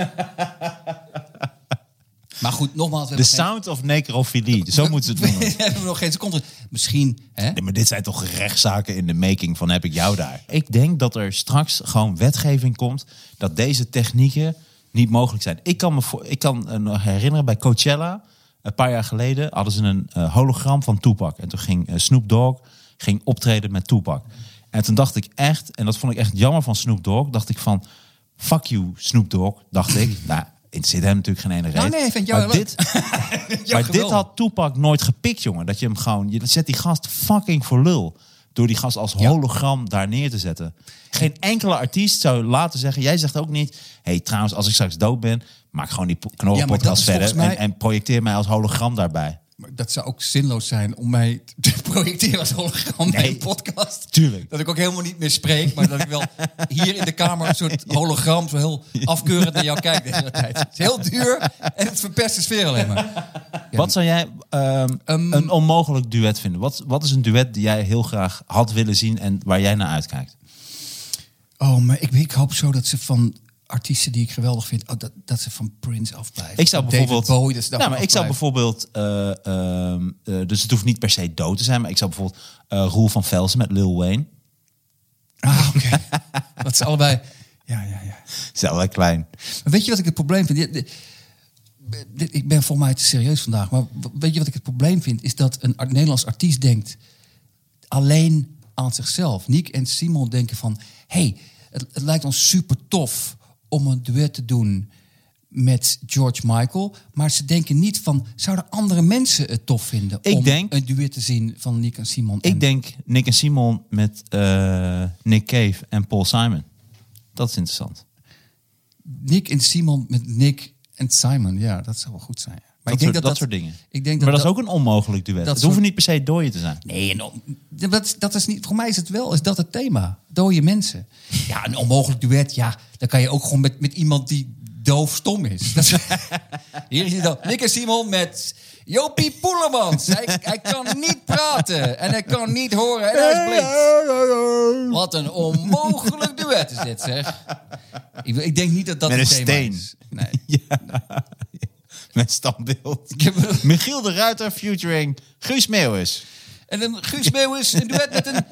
[SPEAKER 2] Maar goed, nogmaals. we
[SPEAKER 5] The
[SPEAKER 2] hebben geen-
[SPEAKER 5] sound of necrofilie. Zo moeten ze het noemen.
[SPEAKER 2] we hebben nog geen seconde. Misschien, hè?
[SPEAKER 5] Nee, maar dit zijn toch rechtszaken in de making van heb ik jou daar. Ik denk dat er straks gewoon wetgeving komt dat deze technieken niet mogelijk zijn. Ik kan me, voor, ik kan eh, nog herinneren bij Coachella, een paar jaar geleden, hadden ze een eh, hologram van Tupac. En toen ging eh, Snoop Dogg ging optreden met Tupac. En toen dacht ik echt, en dat vond ik echt jammer van Snoop Dogg, dacht ik van, fuck you Snoop Dogg, dacht ik. nou, het zit hem natuurlijk geen ene reden.
[SPEAKER 2] nee, ik vind jou
[SPEAKER 5] maar
[SPEAKER 2] heel leuk.
[SPEAKER 5] dit, maar dit
[SPEAKER 2] geweldig.
[SPEAKER 5] had Toepak nooit gepikt, jongen. Dat je hem gewoon... Je zet die gast fucking voor lul. Door die gast als hologram daar neer te zetten. Geen enkele artiest zou laten zeggen... Jij zegt ook niet... hey, trouwens, als ik straks dood ben... Maak gewoon die po-
[SPEAKER 2] Ja, maar dat
[SPEAKER 5] knorrenpodcast
[SPEAKER 2] is
[SPEAKER 5] verder.
[SPEAKER 2] volgens mij-
[SPEAKER 5] En, en projecteer mij als hologram daarbij.
[SPEAKER 2] Maar dat zou ook zinloos zijn om mij te projecteren als hologram bij
[SPEAKER 5] Nee.
[SPEAKER 2] een podcast.
[SPEAKER 5] Tuurlijk.
[SPEAKER 6] Dat ik ook helemaal niet meer spreek, maar dat ik wel hier in de kamer een soort hologram zo heel afkeurend naar jou kijk de hele tijd. Het is heel duur en het verpest de sfeer alleen maar.
[SPEAKER 5] Wat zou jij ehm, een onmogelijk duet vinden? Wat, wat is een duet die jij heel graag had willen zien en waar jij naar uitkijkt?
[SPEAKER 2] Oh, maar ik, ik hoop zo dat ze van artiesten die ik geweldig vind, oh, dat, dat ze van Prince afblijven.
[SPEAKER 5] Ik zou
[SPEAKER 2] Van David
[SPEAKER 5] bijvoorbeeld.
[SPEAKER 2] Bowie, dat ze
[SPEAKER 5] nou,
[SPEAKER 2] daarvan
[SPEAKER 5] maar ik zou
[SPEAKER 2] afblijven.
[SPEAKER 5] bijvoorbeeld. eh, ehm, eh, dus het hoeft niet per se dood te zijn, maar ik zou bijvoorbeeld eh Roel van Velsen met Lil Wayne.
[SPEAKER 2] Ah, oké. dat ze allebei... Ja, ja, ja.
[SPEAKER 5] Is wel klein.
[SPEAKER 2] Maar weet je wat ik het probleem vind? Dit- dit- dit- Ik ben volgens mij te serieus vandaag. Maar w- weet je wat ik het probleem vind? Is dat een ar- Nederlands artiest denkt alleen aan zichzelf. Niek en Simon denken van... hey, het, het lijkt ons super tof om een duet te doen met George Michael. Maar ze denken niet van... zouden andere mensen het tof vinden
[SPEAKER 5] Ik
[SPEAKER 2] om
[SPEAKER 5] denk-
[SPEAKER 2] een duet te zien van Niek en Simon? en-
[SPEAKER 5] Ik denk Nick en Simon met eh, Nick Cave en Paul Simon. Dat is interessant.
[SPEAKER 2] Nick en Simon met Nick en Simon. Ja, dat zou wel goed zijn. Maar
[SPEAKER 5] dat, soort, dat, soort dingen.
[SPEAKER 2] Ik denk dat
[SPEAKER 5] maar dat, is ook een onmogelijk duet.
[SPEAKER 2] dat
[SPEAKER 5] het hoeven
[SPEAKER 2] soort-
[SPEAKER 5] niet per se dooien te zijn.
[SPEAKER 2] Nee, en om- dat, dat is niet. Voor mij is het wel is dat het thema. Dode mensen. Ja, een onmogelijk duet. Ja, dan kan je ook gewoon met, met iemand die doof stom is. Dat is
[SPEAKER 6] Hier is hij dan, Nick en Simon met Jopie Poelemans. Hij, hij kan niet praten en hij kan niet horen en hij is blind. Wat een onmogelijk duet is dit zeg.
[SPEAKER 2] ik, ik denk niet dat dat
[SPEAKER 5] Met
[SPEAKER 2] het
[SPEAKER 5] een
[SPEAKER 2] thema
[SPEAKER 5] steen.
[SPEAKER 2] is. Nee.
[SPEAKER 5] Met standbeeld. Michiel de Ruiter featuring Guus Meeuwis.
[SPEAKER 6] En een Guus Meeuwis een duet met een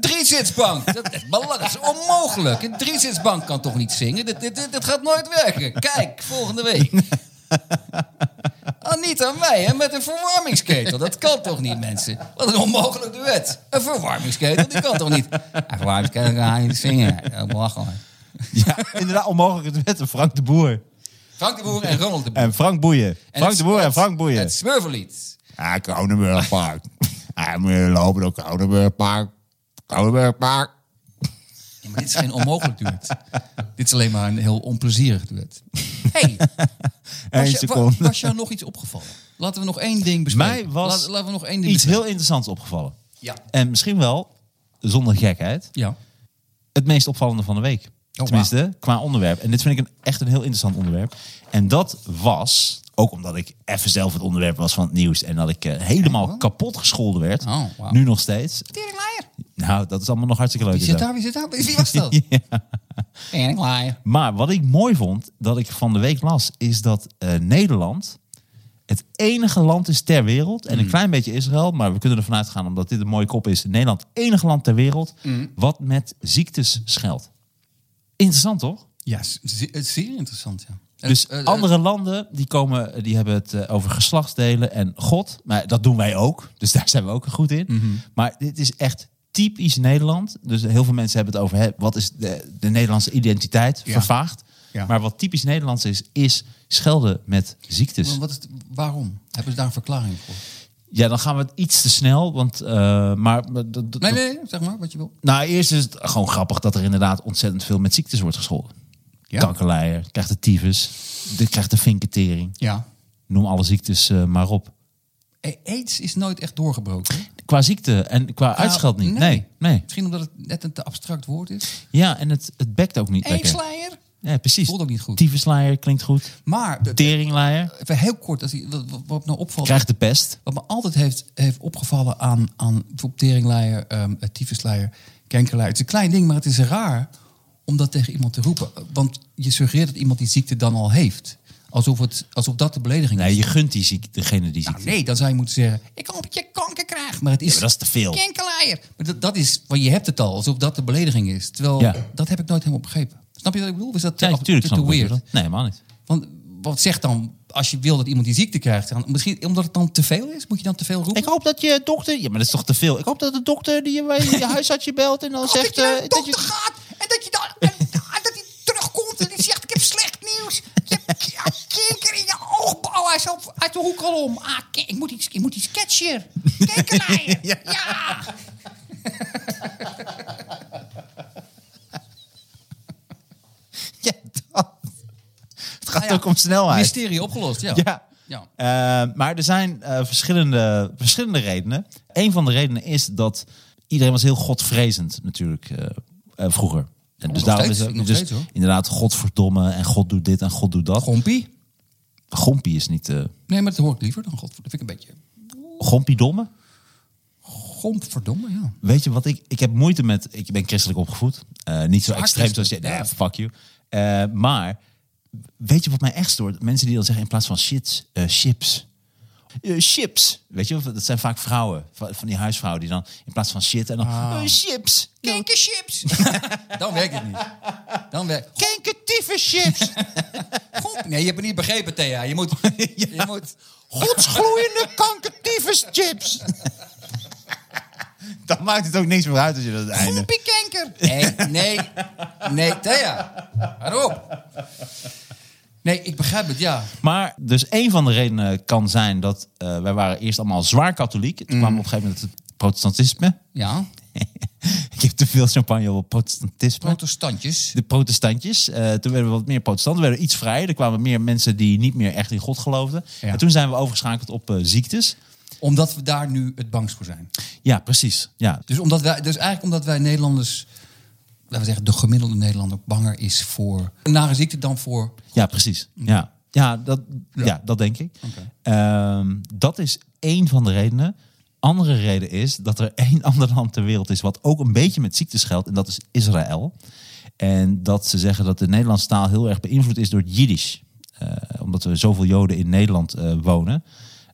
[SPEAKER 6] driezitsbank. Dat is, belang- dat is onmogelijk. Een driezitsbank kan toch niet zingen? Dit, dit, dit, dit gaat nooit werken. Kijk, volgende week. Ah, niet aan mij, hè? Met een verwarmingsketel. Dat kan toch niet, mensen? Wat een onmogelijk duet. Een verwarmingsketel, die kan toch niet? Een verwarmingsketel kan niet zingen. Ja, belachelijk.
[SPEAKER 5] Ja, inderdaad, onmogelijk duet. En Frank de Boer.
[SPEAKER 6] Frank de Boer en Ronald de Boer.
[SPEAKER 5] En Frank Boeien. Frank
[SPEAKER 6] het-
[SPEAKER 5] de Boer en Frank Boeien.
[SPEAKER 6] Het Smurvenlied.
[SPEAKER 3] Ah, Koudenburgpark. Ah, we lopen door Koudenburgpark. Koudenburgpark.
[SPEAKER 2] Ja, maar dit is geen onmogelijk duet. dit is alleen maar een heel onplezierig duet.
[SPEAKER 6] Hey,
[SPEAKER 5] Eén
[SPEAKER 2] Was, je- wa-
[SPEAKER 5] seconde.
[SPEAKER 2] was jou nog iets opgevallen? Laten we nog één ding bespreken.
[SPEAKER 5] Mij was
[SPEAKER 2] Laat- laten we nog één ding
[SPEAKER 5] Iets
[SPEAKER 2] bespreken.
[SPEAKER 5] heel interessants opgevallen.
[SPEAKER 6] Ja.
[SPEAKER 5] En misschien wel, zonder gekheid,
[SPEAKER 2] Ja.
[SPEAKER 5] het meest opvallende van de week.
[SPEAKER 2] Oh, wauw.
[SPEAKER 5] Tenminste, qua onderwerp. En dit vind ik een, echt een heel interessant onderwerp. En dat was, ook omdat ik even zelf het onderwerp was van het nieuws... en dat ik eh, helemaal kapot gescholden werd.
[SPEAKER 2] Oh, wauw.
[SPEAKER 5] Nu nog steeds.
[SPEAKER 6] Teringlaaier.
[SPEAKER 5] Nou, dat is allemaal nog hartstikke leuk.
[SPEAKER 2] Wie
[SPEAKER 5] en
[SPEAKER 2] zit
[SPEAKER 5] zo.
[SPEAKER 2] daar? Wie zit daar? Wie was dat?
[SPEAKER 6] Teringlaaier.
[SPEAKER 5] Maar wat ik mooi vond, dat ik van de week las... is dat eh, Nederland het enige land is ter wereld... en een klein beetje Israël, maar we kunnen ervan uitgaan... omdat dit een mooie kop is. Nederland, het enige land ter wereld... wat met ziektes scheldt. Interessant, toch?
[SPEAKER 2] Ja, ze- ze- zeer interessant. Ja.
[SPEAKER 5] Dus
[SPEAKER 2] Eh, eh,
[SPEAKER 5] andere landen die komen, die hebben het eh, over geslachtsdelen en God. Maar dat doen wij ook. Dus daar zijn we ook goed in.
[SPEAKER 2] Mhm.
[SPEAKER 5] Maar dit is echt typisch Nederland. Dus heel veel mensen hebben het over hè, wat is de, de Nederlandse identiteit
[SPEAKER 2] Ja.
[SPEAKER 5] vervaagd.
[SPEAKER 2] Ja.
[SPEAKER 5] Maar wat typisch Nederlands is, is schelden met ziektes.
[SPEAKER 2] Maar eh, Wat is het- waarom? Hebben ze daar een verklaring voor?
[SPEAKER 5] Ja, dan gaan we het iets te snel. Want, eh, maar, maar dat- dat-
[SPEAKER 2] Nee, nee, nee, zeg maar wat je wil.
[SPEAKER 5] Nou, eerst is het gewoon grappig dat er inderdaad ontzettend veel met ziektes wordt gescholden.
[SPEAKER 2] Ja.
[SPEAKER 5] Kankerleier, krijgt de tyfus, de, krijgt de vinketering.
[SPEAKER 2] Ja.
[SPEAKER 5] Noem alle ziektes eh, maar op.
[SPEAKER 2] Eh, AIDS is nooit echt doorgebroken. hè?
[SPEAKER 5] Qua ziekte en qua uitscheld niet.
[SPEAKER 2] nee.
[SPEAKER 5] Nee. nee,
[SPEAKER 2] Misschien omdat het net een te abstract woord is.
[SPEAKER 5] Ja, en het, het bekt ook niet lekker.
[SPEAKER 2] Eensleier?
[SPEAKER 5] Ja, precies.
[SPEAKER 2] Voelt ook niet goed.
[SPEAKER 5] Tyfusleier klinkt goed.
[SPEAKER 2] Maar de-
[SPEAKER 5] Teringlijer
[SPEAKER 2] even heel kort, als, wat, wat, wat me nou opvalt.
[SPEAKER 5] krijgt de pest.
[SPEAKER 2] Wat me altijd heeft, heeft opgevallen aan, aan bijvoorbeeld teringleier, ehm tyfusleier, kankerleier. Het is een klein ding, maar het is raar om dat tegen iemand te roepen. Want je suggereert dat iemand die ziekte dan al heeft. Alsof, het, alsof dat de belediging
[SPEAKER 5] Nee,
[SPEAKER 2] is.
[SPEAKER 5] je gunt die ziek, degene die ziek
[SPEAKER 2] Nou, nee, dan zou je moeten zeggen, ik hoop dat je kanker krijgt. Maar het is,
[SPEAKER 5] maar dat is te veel.
[SPEAKER 2] Kankerleier. Maar dat, dat is, want je hebt het al, alsof dat de belediging is. Terwijl,
[SPEAKER 5] Ja.
[SPEAKER 2] dat heb ik nooit helemaal begrepen. Snap je wat ik bedoel? Of Is dat te,
[SPEAKER 5] Ja, natuurlijk
[SPEAKER 2] te, te
[SPEAKER 5] snap ik wat je
[SPEAKER 2] weird?
[SPEAKER 5] bedoelt. Nee, helemaal niet.
[SPEAKER 2] Want wat zegt dan, als je wil dat iemand die ziekte krijgt, dan, misschien omdat het dan te veel is, moet je dan te veel roepen?
[SPEAKER 5] Ik hoop dat je dokter... Ja, maar dat is toch te veel. Ik hoop dat de dokter die je, bij je huisarts je belt en dan zegt... eh, dat je-
[SPEAKER 6] gaat en dat je dan en, dat hij terugkomt en die zegt ik heb slecht nieuws. Je hebt ja, kanker in je oogbouw. Hij is op, uit de hoek al om. Ah, ki- ik moet iets, ik moet iets catchen. Kankerlijn. Ja.
[SPEAKER 5] Ja, dat. Het gaat
[SPEAKER 2] Ah ja.
[SPEAKER 5] ook om snelheid.
[SPEAKER 2] Nou Mysterie opgelost, ja.
[SPEAKER 5] Ja.
[SPEAKER 2] Ja.
[SPEAKER 5] Eh, maar er zijn eh, verschillende, verschillende redenen. Een van de redenen is dat iedereen was heel godvrezend natuurlijk eh, eh, vroeger. En dus
[SPEAKER 2] nog steeds,
[SPEAKER 5] er-
[SPEAKER 2] nog
[SPEAKER 5] dus
[SPEAKER 2] steeds, hoor.
[SPEAKER 5] inderdaad godverdomme en god doet dit en god doet dat.
[SPEAKER 2] Gompie?
[SPEAKER 5] Gompie is niet... eh
[SPEAKER 2] Nee, maar dat hoor ik liever dan God. Dat vind ik een beetje...
[SPEAKER 5] gompiedomme?
[SPEAKER 2] Gompverdomme, ja.
[SPEAKER 5] Weet je wat ik, ik heb moeite met. Ik ben christelijk opgevoed. Eh, niet zo extreem zoals jij. Nee,
[SPEAKER 2] ja.
[SPEAKER 5] fuck you. Eh, maar weet je wat mij echt stoort? Mensen die dan zeggen in plaats van shit, eh, chips. Eh, chips. Weet je, dat zijn vaak vrouwen. Van van die huisvrouwen die dan in plaats van shit en dan. eh, chips.
[SPEAKER 6] Kinkerchips. Dan werkt het niet. Dan werkt...
[SPEAKER 5] Kenkentieve chips.
[SPEAKER 6] Gomp. Nee, je hebt het niet begrepen, Thea. Je moet... Je moet...
[SPEAKER 5] Godsgloeiende kankentieve chips. dan maakt het ook niks meer uit als je dat einde.
[SPEAKER 6] Gompie kanker. Nee, nee. Nee, Thea. Hou op. Nee, ik begrijp het, ja.
[SPEAKER 5] Maar dus een van de redenen kan zijn dat eh, wij waren eerst allemaal zwaar katholiek. Toen kwam op een gegeven moment het protestantisme.
[SPEAKER 2] Ja,
[SPEAKER 5] Ik heb te veel champagne op protestantisme.
[SPEAKER 6] Protestantjes.
[SPEAKER 5] de protestantjes. eh, toen werden we wat meer protestanten, werden we iets vrijer. Er kwamen meer mensen die niet meer echt in God geloofden.
[SPEAKER 2] Ja.
[SPEAKER 5] En toen zijn we overgeschakeld op eh, ziektes.
[SPEAKER 6] Omdat we daar nu het bangst voor zijn.
[SPEAKER 5] Ja, precies. Ja.
[SPEAKER 6] Dus, omdat wij, dus eigenlijk omdat wij Nederlanders... Laten we zeggen, de gemiddelde Nederlander banger is voor... Een nare ziekte dan voor...
[SPEAKER 5] Ja, precies.
[SPEAKER 6] Mm.
[SPEAKER 5] Ja, ja, dat, ja. dat denk ik. Ehm, dat is één van de redenen. Andere reden is dat er één ander land ter wereld is wat ook een beetje met ziektes geldt. En dat is Israël. En dat ze zeggen dat de Nederlandse taal heel erg beïnvloed is door het Jiddisch. Eh, omdat er zoveel Joden in Nederland eh, wonen.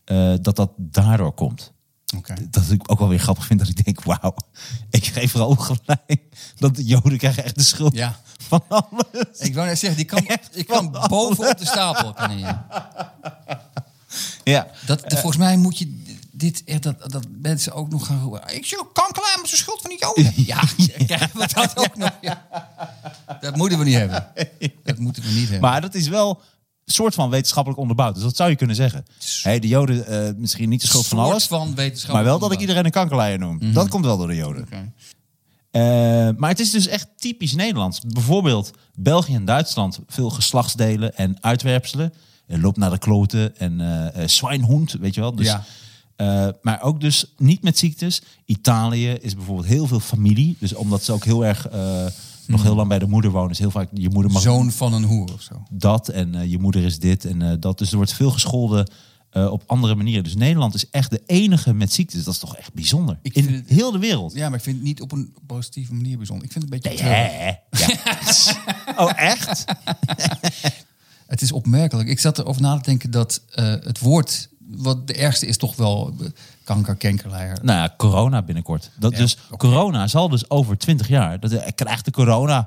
[SPEAKER 5] eh, dat dat daardoor komt.
[SPEAKER 2] oké.
[SPEAKER 5] Dat ik ook wel weer grappig vind dat ik denk, wauw, ik geef vooral gelijk dat de Joden krijgen echt de schuld
[SPEAKER 6] Ja.
[SPEAKER 5] van alles.
[SPEAKER 6] Ik wou net zeggen, die kan, ik kan boven op de stapel. Kan hij.
[SPEAKER 5] Ja.
[SPEAKER 6] Dat, volgens mij moet je dit echt, dat, dat mensen ook nog gaan roepen. Ik zie ook kanker aan, maar het is de schuld van die Joden. Ja, krijgen we dat ook nog. Ja. Dat moeten we niet hebben. Dat moeten we niet hebben.
[SPEAKER 5] Maar dat is wel een soort van wetenschappelijk onderbouwd. Dus dat zou je kunnen zeggen. Hey, de Joden, eh, misschien niet de schuld van
[SPEAKER 6] Soort
[SPEAKER 5] alles.
[SPEAKER 6] van wetenschappelijk
[SPEAKER 5] maar wel dat ik
[SPEAKER 6] onderbouwd. Mhm.
[SPEAKER 5] iedereen een kankerleier noem. Dat komt wel door de Joden. Eh, maar het is dus echt typisch Nederlands. Bijvoorbeeld België en Duitsland. Veel geslachtsdelen en uitwerpselen. En loop naar de kloten en eh eh, zwijnhoend, weet je wel. Dus,
[SPEAKER 6] Ja.
[SPEAKER 5] eh, maar ook dus niet met ziektes. Italië is bijvoorbeeld heel veel familie. Dus omdat ze ook heel erg... eh, nog heel lang bij de moeder wonen. Is heel vaak je moeder mag
[SPEAKER 6] Mhm. Zoon van een hoer of zo.
[SPEAKER 5] dat en eh, je moeder is dit en eh, dat. Dus er wordt veel gescholden eh, op andere manieren. Dus Nederland is echt de enige met ziektes. Dat is toch echt bijzonder.
[SPEAKER 6] Ik
[SPEAKER 5] In
[SPEAKER 6] vind het-
[SPEAKER 5] heel de wereld.
[SPEAKER 2] Ja, maar ik vind het niet op een positieve manier bijzonder. Ik vind het een beetje...
[SPEAKER 5] Hè?
[SPEAKER 2] treurig.
[SPEAKER 5] Ja. oh, echt?
[SPEAKER 6] Het is opmerkelijk. Ik zat erover na te denken dat eh, het woord, wat de ergste is toch wel eh, kanker, kankerleier.
[SPEAKER 5] Nou ja, corona binnenkort. Dat dus, Corona zal dus over 20 jaar... Dat, hij krijgt de corona,
[SPEAKER 6] Oh.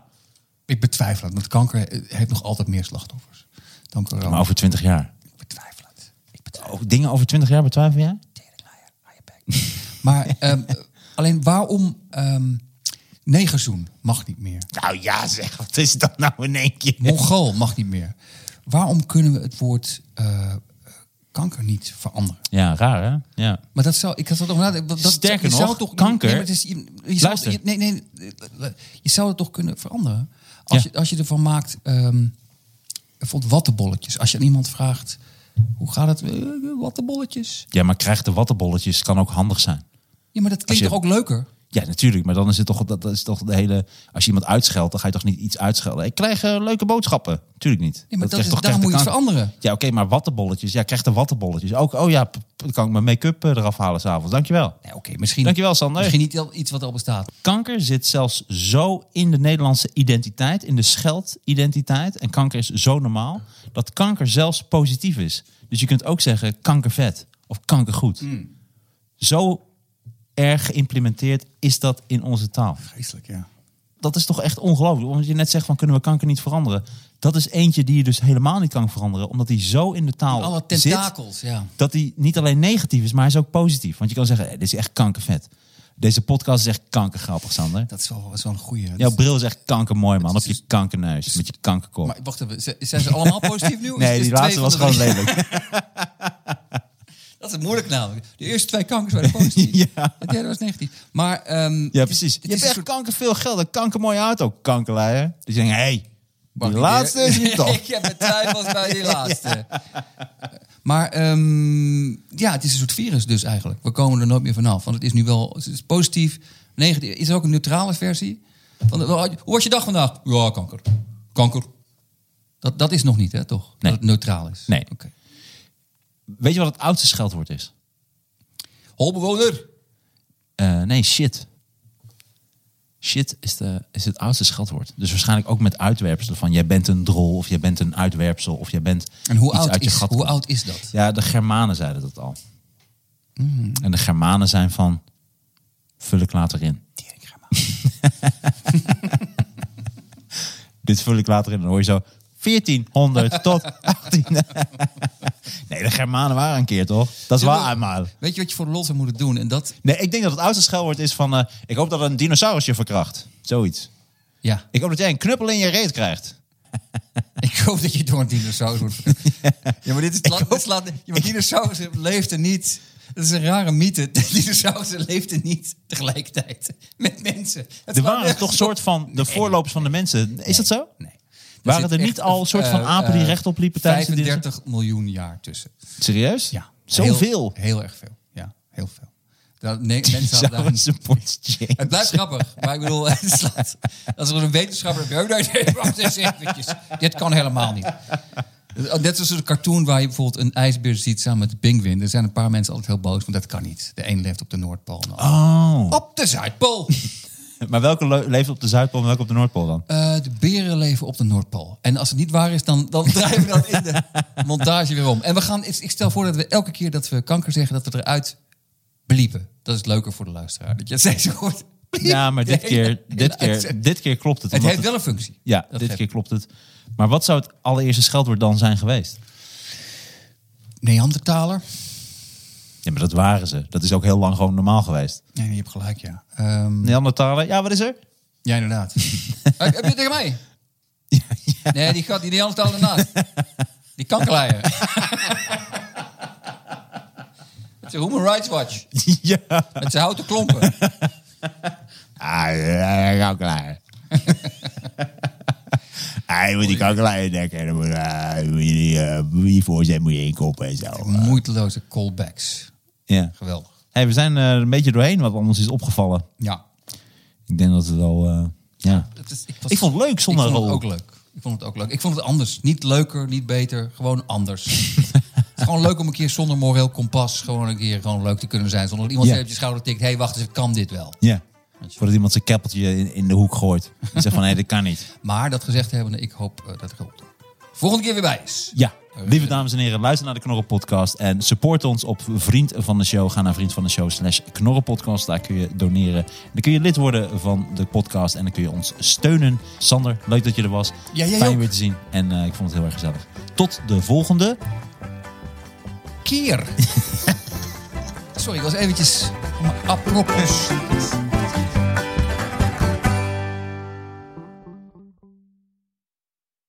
[SPEAKER 2] Ik betwijfel het, want kanker eh, heeft nog altijd meer slachtoffers dan corona.
[SPEAKER 5] maar over 20 jaar.
[SPEAKER 2] Ik betwijfel het. Ik betwijfel
[SPEAKER 5] Oh, dingen over 20 jaar betwijfel jij?
[SPEAKER 2] het. Maar ehm, alleen waarom ehm negerzoen mag niet meer?
[SPEAKER 5] Nou ja zeg, wat is dat nou in één keer?
[SPEAKER 2] Mongool mag niet meer. Waarom kunnen we het woord eh, kanker niet veranderen?
[SPEAKER 5] Ja, raar hè? Ja.
[SPEAKER 2] Maar dat zou, ik had dat nog nadenken. want Dat,
[SPEAKER 5] Sterker
[SPEAKER 2] je zou
[SPEAKER 5] nog,
[SPEAKER 2] toch,
[SPEAKER 5] kanker-
[SPEAKER 2] Nee, maar het is- je, je zou,
[SPEAKER 5] Luister.
[SPEAKER 2] je- nee, nee, je zou het toch kunnen veranderen. Als,
[SPEAKER 5] Ja.
[SPEAKER 2] je, als je ervan maakt, ehm bijvoorbeeld wattenbolletjes. Als je aan iemand vraagt, hoe gaat het? Eh, wattenbolletjes.
[SPEAKER 5] ja, maar krijgt de wattenbolletjes kan ook handig zijn.
[SPEAKER 2] Ja, maar dat klinkt
[SPEAKER 5] je-
[SPEAKER 2] toch ook leuker?
[SPEAKER 5] Ja, natuurlijk. Maar dan is het toch, dat dat is toch de hele... Als je iemand uitscheldt, dan ga je toch niet iets uitschelden. Ik krijg eh, leuke boodschappen. Tuurlijk niet.
[SPEAKER 2] Ja, maar dat
[SPEAKER 5] krijg
[SPEAKER 2] is-
[SPEAKER 5] toch-
[SPEAKER 2] daar
[SPEAKER 5] krijg
[SPEAKER 2] moet je
[SPEAKER 5] de
[SPEAKER 2] iets
[SPEAKER 5] kanker-
[SPEAKER 2] veranderen.
[SPEAKER 5] Ja, oké, maar wattenbolletjes. Ja, krijg de wattenbolletjes. Ook, oh ja, p- p- dan kan ik mijn make-up eh, eraf halen s'avonds. Dankjewel.
[SPEAKER 2] Nee, oké, misschien,
[SPEAKER 5] Dankjewel, Sander.
[SPEAKER 2] misschien niet al- iets wat al bestaat.
[SPEAKER 5] Kanker zit zelfs zo in de Nederlandse identiteit, in de scheldidentiteit. En kanker is zo normaal, dat kanker zelfs positief is. Dus je kunt ook zeggen kankervet of kankergoed.
[SPEAKER 2] Mm.
[SPEAKER 5] Zo erg geïmplementeerd is dat in onze taal.
[SPEAKER 2] Vreselijk, ja.
[SPEAKER 5] dat is toch echt ongelooflijk. Omdat je net zegt van kunnen we kanker niet veranderen. Dat is eentje die je dus helemaal niet kan veranderen. Omdat hij zo in de taal
[SPEAKER 6] Alle
[SPEAKER 5] zit.
[SPEAKER 6] tentakels, ja.
[SPEAKER 5] Dat hij niet alleen negatief is, maar hij is ook positief. Want je kan zeggen, hé, dit is echt kankervet. Deze podcast is echt kankergrappig, Sander.
[SPEAKER 2] Dat is wel, dat is wel een goeie. Dat
[SPEAKER 5] Jouw
[SPEAKER 2] is-
[SPEAKER 5] bril is echt kankermooi, man. Op je kankerneus, met je kankerkop.
[SPEAKER 6] Maar wacht even, z- zijn ze allemaal positief nu? Of is-
[SPEAKER 5] nee,
[SPEAKER 6] is
[SPEAKER 5] die
[SPEAKER 6] twee
[SPEAKER 5] laatste
[SPEAKER 6] van
[SPEAKER 5] was
[SPEAKER 6] de
[SPEAKER 5] gewoon
[SPEAKER 6] drie-
[SPEAKER 5] lelijk.
[SPEAKER 6] Dat is het moeilijk namelijk. De eerste twee kankers waren positief.
[SPEAKER 5] Ja.
[SPEAKER 6] Het derde was negatief. Maar ehm,
[SPEAKER 5] Ja, precies. Je
[SPEAKER 6] is
[SPEAKER 5] hebt
[SPEAKER 6] een
[SPEAKER 5] echt
[SPEAKER 6] soort-
[SPEAKER 5] kanker veel geld. Een kankermooie auto, kankerleier. Dus je denkt, hé, hey, die
[SPEAKER 6] Wacht,
[SPEAKER 5] laatste is niet toch.
[SPEAKER 6] ik heb mijn twijfels bij die laatste.
[SPEAKER 2] Maar ehm, ja, het is een soort virus dus eigenlijk. We komen er nooit meer vanaf. Want het is nu wel het is positief. negatief. Is er ook een neutrale versie? Van, de- hoe was je dag vandaag? Ja, kanker. Kanker. Dat, dat is nog niet, hè, toch?
[SPEAKER 5] Nee.
[SPEAKER 2] Dat het neutraal is.
[SPEAKER 5] Nee.
[SPEAKER 2] Oké.
[SPEAKER 5] Weet je wat het oudste scheldwoord is?
[SPEAKER 6] Holbewoner.
[SPEAKER 5] Eh, nee, shit. Shit is, de, is het oudste scheldwoord. Dus waarschijnlijk ook met uitwerpselen van jij bent een drol of jij bent een uitwerpsel of jij bent
[SPEAKER 2] En hoe
[SPEAKER 5] iets
[SPEAKER 2] oud,
[SPEAKER 5] uit je
[SPEAKER 2] is,
[SPEAKER 5] gat
[SPEAKER 2] hoe
[SPEAKER 5] komt.
[SPEAKER 2] oud is dat?
[SPEAKER 5] Ja, de Germanen zeiden dat al.
[SPEAKER 2] Mm.
[SPEAKER 5] En de Germanen zijn van vul ik later in. Dit vul ik later in. Dan hoor je zo 1400 tot 18. nee, de Germanen waren een keer toch? Dat is waar, maar.
[SPEAKER 2] Weet je wat je voor de lol zou moeten doen? En dat,
[SPEAKER 5] Nee, ik denk dat het oudste schelwoord is van... eh, ik hoop dat een dinosaurus je verkracht. Zoiets.
[SPEAKER 2] ja.
[SPEAKER 5] Ik hoop dat jij een knuppel in je reet krijgt.
[SPEAKER 2] Ik hoop dat je door een dinosaurus wordt. ja, maar dit is
[SPEAKER 5] hoop-
[SPEAKER 2] het slaat. Ja, maar dinosaurussen leefden niet. Dat is een rare mythe. Dinosaurussen leefden niet tegelijkertijd met mensen. Het
[SPEAKER 5] Er
[SPEAKER 2] slaat
[SPEAKER 5] waren
[SPEAKER 2] nergens
[SPEAKER 5] toch
[SPEAKER 2] op.
[SPEAKER 5] soort van de voorlopers van de mensen. Is dat zo?
[SPEAKER 2] Nee.
[SPEAKER 5] Waren
[SPEAKER 2] zit
[SPEAKER 5] er
[SPEAKER 2] echt
[SPEAKER 5] niet al
[SPEAKER 2] een,
[SPEAKER 5] soort van
[SPEAKER 2] eh,
[SPEAKER 5] apen die
[SPEAKER 2] eh,
[SPEAKER 5] rechtop liepen tijdens de
[SPEAKER 2] 35 miljoen jaar tussen.
[SPEAKER 5] Serieus?
[SPEAKER 2] Ja.
[SPEAKER 5] Zoveel.
[SPEAKER 2] Heel, heel erg veel. Ja, heel veel. Dat, nee, mensen hadden daar...
[SPEAKER 5] Dinosaurus support chain.
[SPEAKER 2] Het blijft grappig, maar ik bedoel, het slaat. Als er een wetenschapper... Nee, nee, wacht eens eventjes. Dit kan helemaal niet. Oh, Net zoals een cartoon waar je bijvoorbeeld een ijsbeer ziet samen met de pinguïn. Er zijn een paar mensen altijd heel boos, want dat kan niet. De een leeft op de Noordpool. en de ander
[SPEAKER 5] Oh.
[SPEAKER 2] Op de Zuidpool.
[SPEAKER 5] Maar welke le- leeft op de Zuidpool en welke op de Noordpool dan?
[SPEAKER 2] Eh, de beren leven op de Noordpool. En als het niet waar is, dan, dan draaien we dat in de montage weer om. En we gaan, ik ik stel voor dat we elke keer dat we kanker zeggen, dat we eruit bliepen. Dat is leuker voor de luisteraar. Dat je het steeds hoort. Bliep.
[SPEAKER 5] Ja, maar dit
[SPEAKER 2] De
[SPEAKER 5] keer,
[SPEAKER 2] hele-
[SPEAKER 5] dit
[SPEAKER 2] hele
[SPEAKER 5] keer,
[SPEAKER 2] uitzending.
[SPEAKER 5] dit keer klopt het.
[SPEAKER 2] Het
[SPEAKER 5] omdat
[SPEAKER 2] heeft wel een functie.
[SPEAKER 5] Ja,
[SPEAKER 2] Dat
[SPEAKER 5] dit
[SPEAKER 2] geeft-
[SPEAKER 5] keer klopt het. Maar wat zou het allereerste scheldwoord dan zijn geweest?
[SPEAKER 2] Neandertaler?
[SPEAKER 5] Ja, maar dat waren ze. Dat is ook heel lang gewoon normaal geweest.
[SPEAKER 2] Nee, je hebt gelijk, ja. Ehm,
[SPEAKER 5] Neandertalen. Ja, wat is er?
[SPEAKER 2] ja, inderdaad. Eh, Heb je het tegen mij? Nee, die gaat die Neandertaler ernaast. Die kankerleier. Het is een Human Rights Watch.
[SPEAKER 5] ja.
[SPEAKER 2] Met zijn houten klompen.
[SPEAKER 3] Ah, ja, ja, kankerlaar. Ah, je moet die kankerlaar indekken. en Dan moet, ah, dan moet je die, eh, moet je voorzet moet je inkoppen en zo.
[SPEAKER 2] Moeiteloze callbacks.
[SPEAKER 5] ja.
[SPEAKER 2] Geweldig.
[SPEAKER 5] Hey, we zijn eh, er een beetje doorheen wat ons is opgevallen.
[SPEAKER 2] Ja.
[SPEAKER 5] Ik denk dat het al... eh, ja.
[SPEAKER 2] Het is-
[SPEAKER 5] Ik vond het leuk zonder
[SPEAKER 2] Ik vond
[SPEAKER 5] rol.
[SPEAKER 2] het ook leuk. Ik vond het ook leuk. Ik vond het anders. Niet leuker, niet beter. Gewoon anders. het is gewoon leuk om een keer zonder moreel kompas... gewoon een keer gewoon leuk te kunnen zijn. Zonder dat iemand
[SPEAKER 5] Ja.
[SPEAKER 2] even op je schouder tikt. Hé, hey, wacht eens, ik kan dit wel.
[SPEAKER 5] Ja. Voordat iemand zijn keppeltje in, in de hoek gooit. En zegt van, nee, dat kan niet.
[SPEAKER 2] Maar dat gezegd hebbende, ik hoop eh, dat ik erop doe. Volgende keer weer bij is.
[SPEAKER 5] Ja. Eh, Lieve dames en heren, luister naar de Knorren Podcast. En support ons op Vriend van de Show. Ga naar Vriend van de Show slash Knorren Podcast. Daar kun je doneren. Dan kun je lid worden van de podcast. En dan kun je ons steunen. Sander, leuk dat je er was.
[SPEAKER 2] Ja, jij
[SPEAKER 5] Fijn je
[SPEAKER 2] ook.
[SPEAKER 5] weer te zien. En eh, ik vond het heel erg gezellig. Tot de volgende.
[SPEAKER 2] Keer. Sorry, ik was eventjes... Apropos.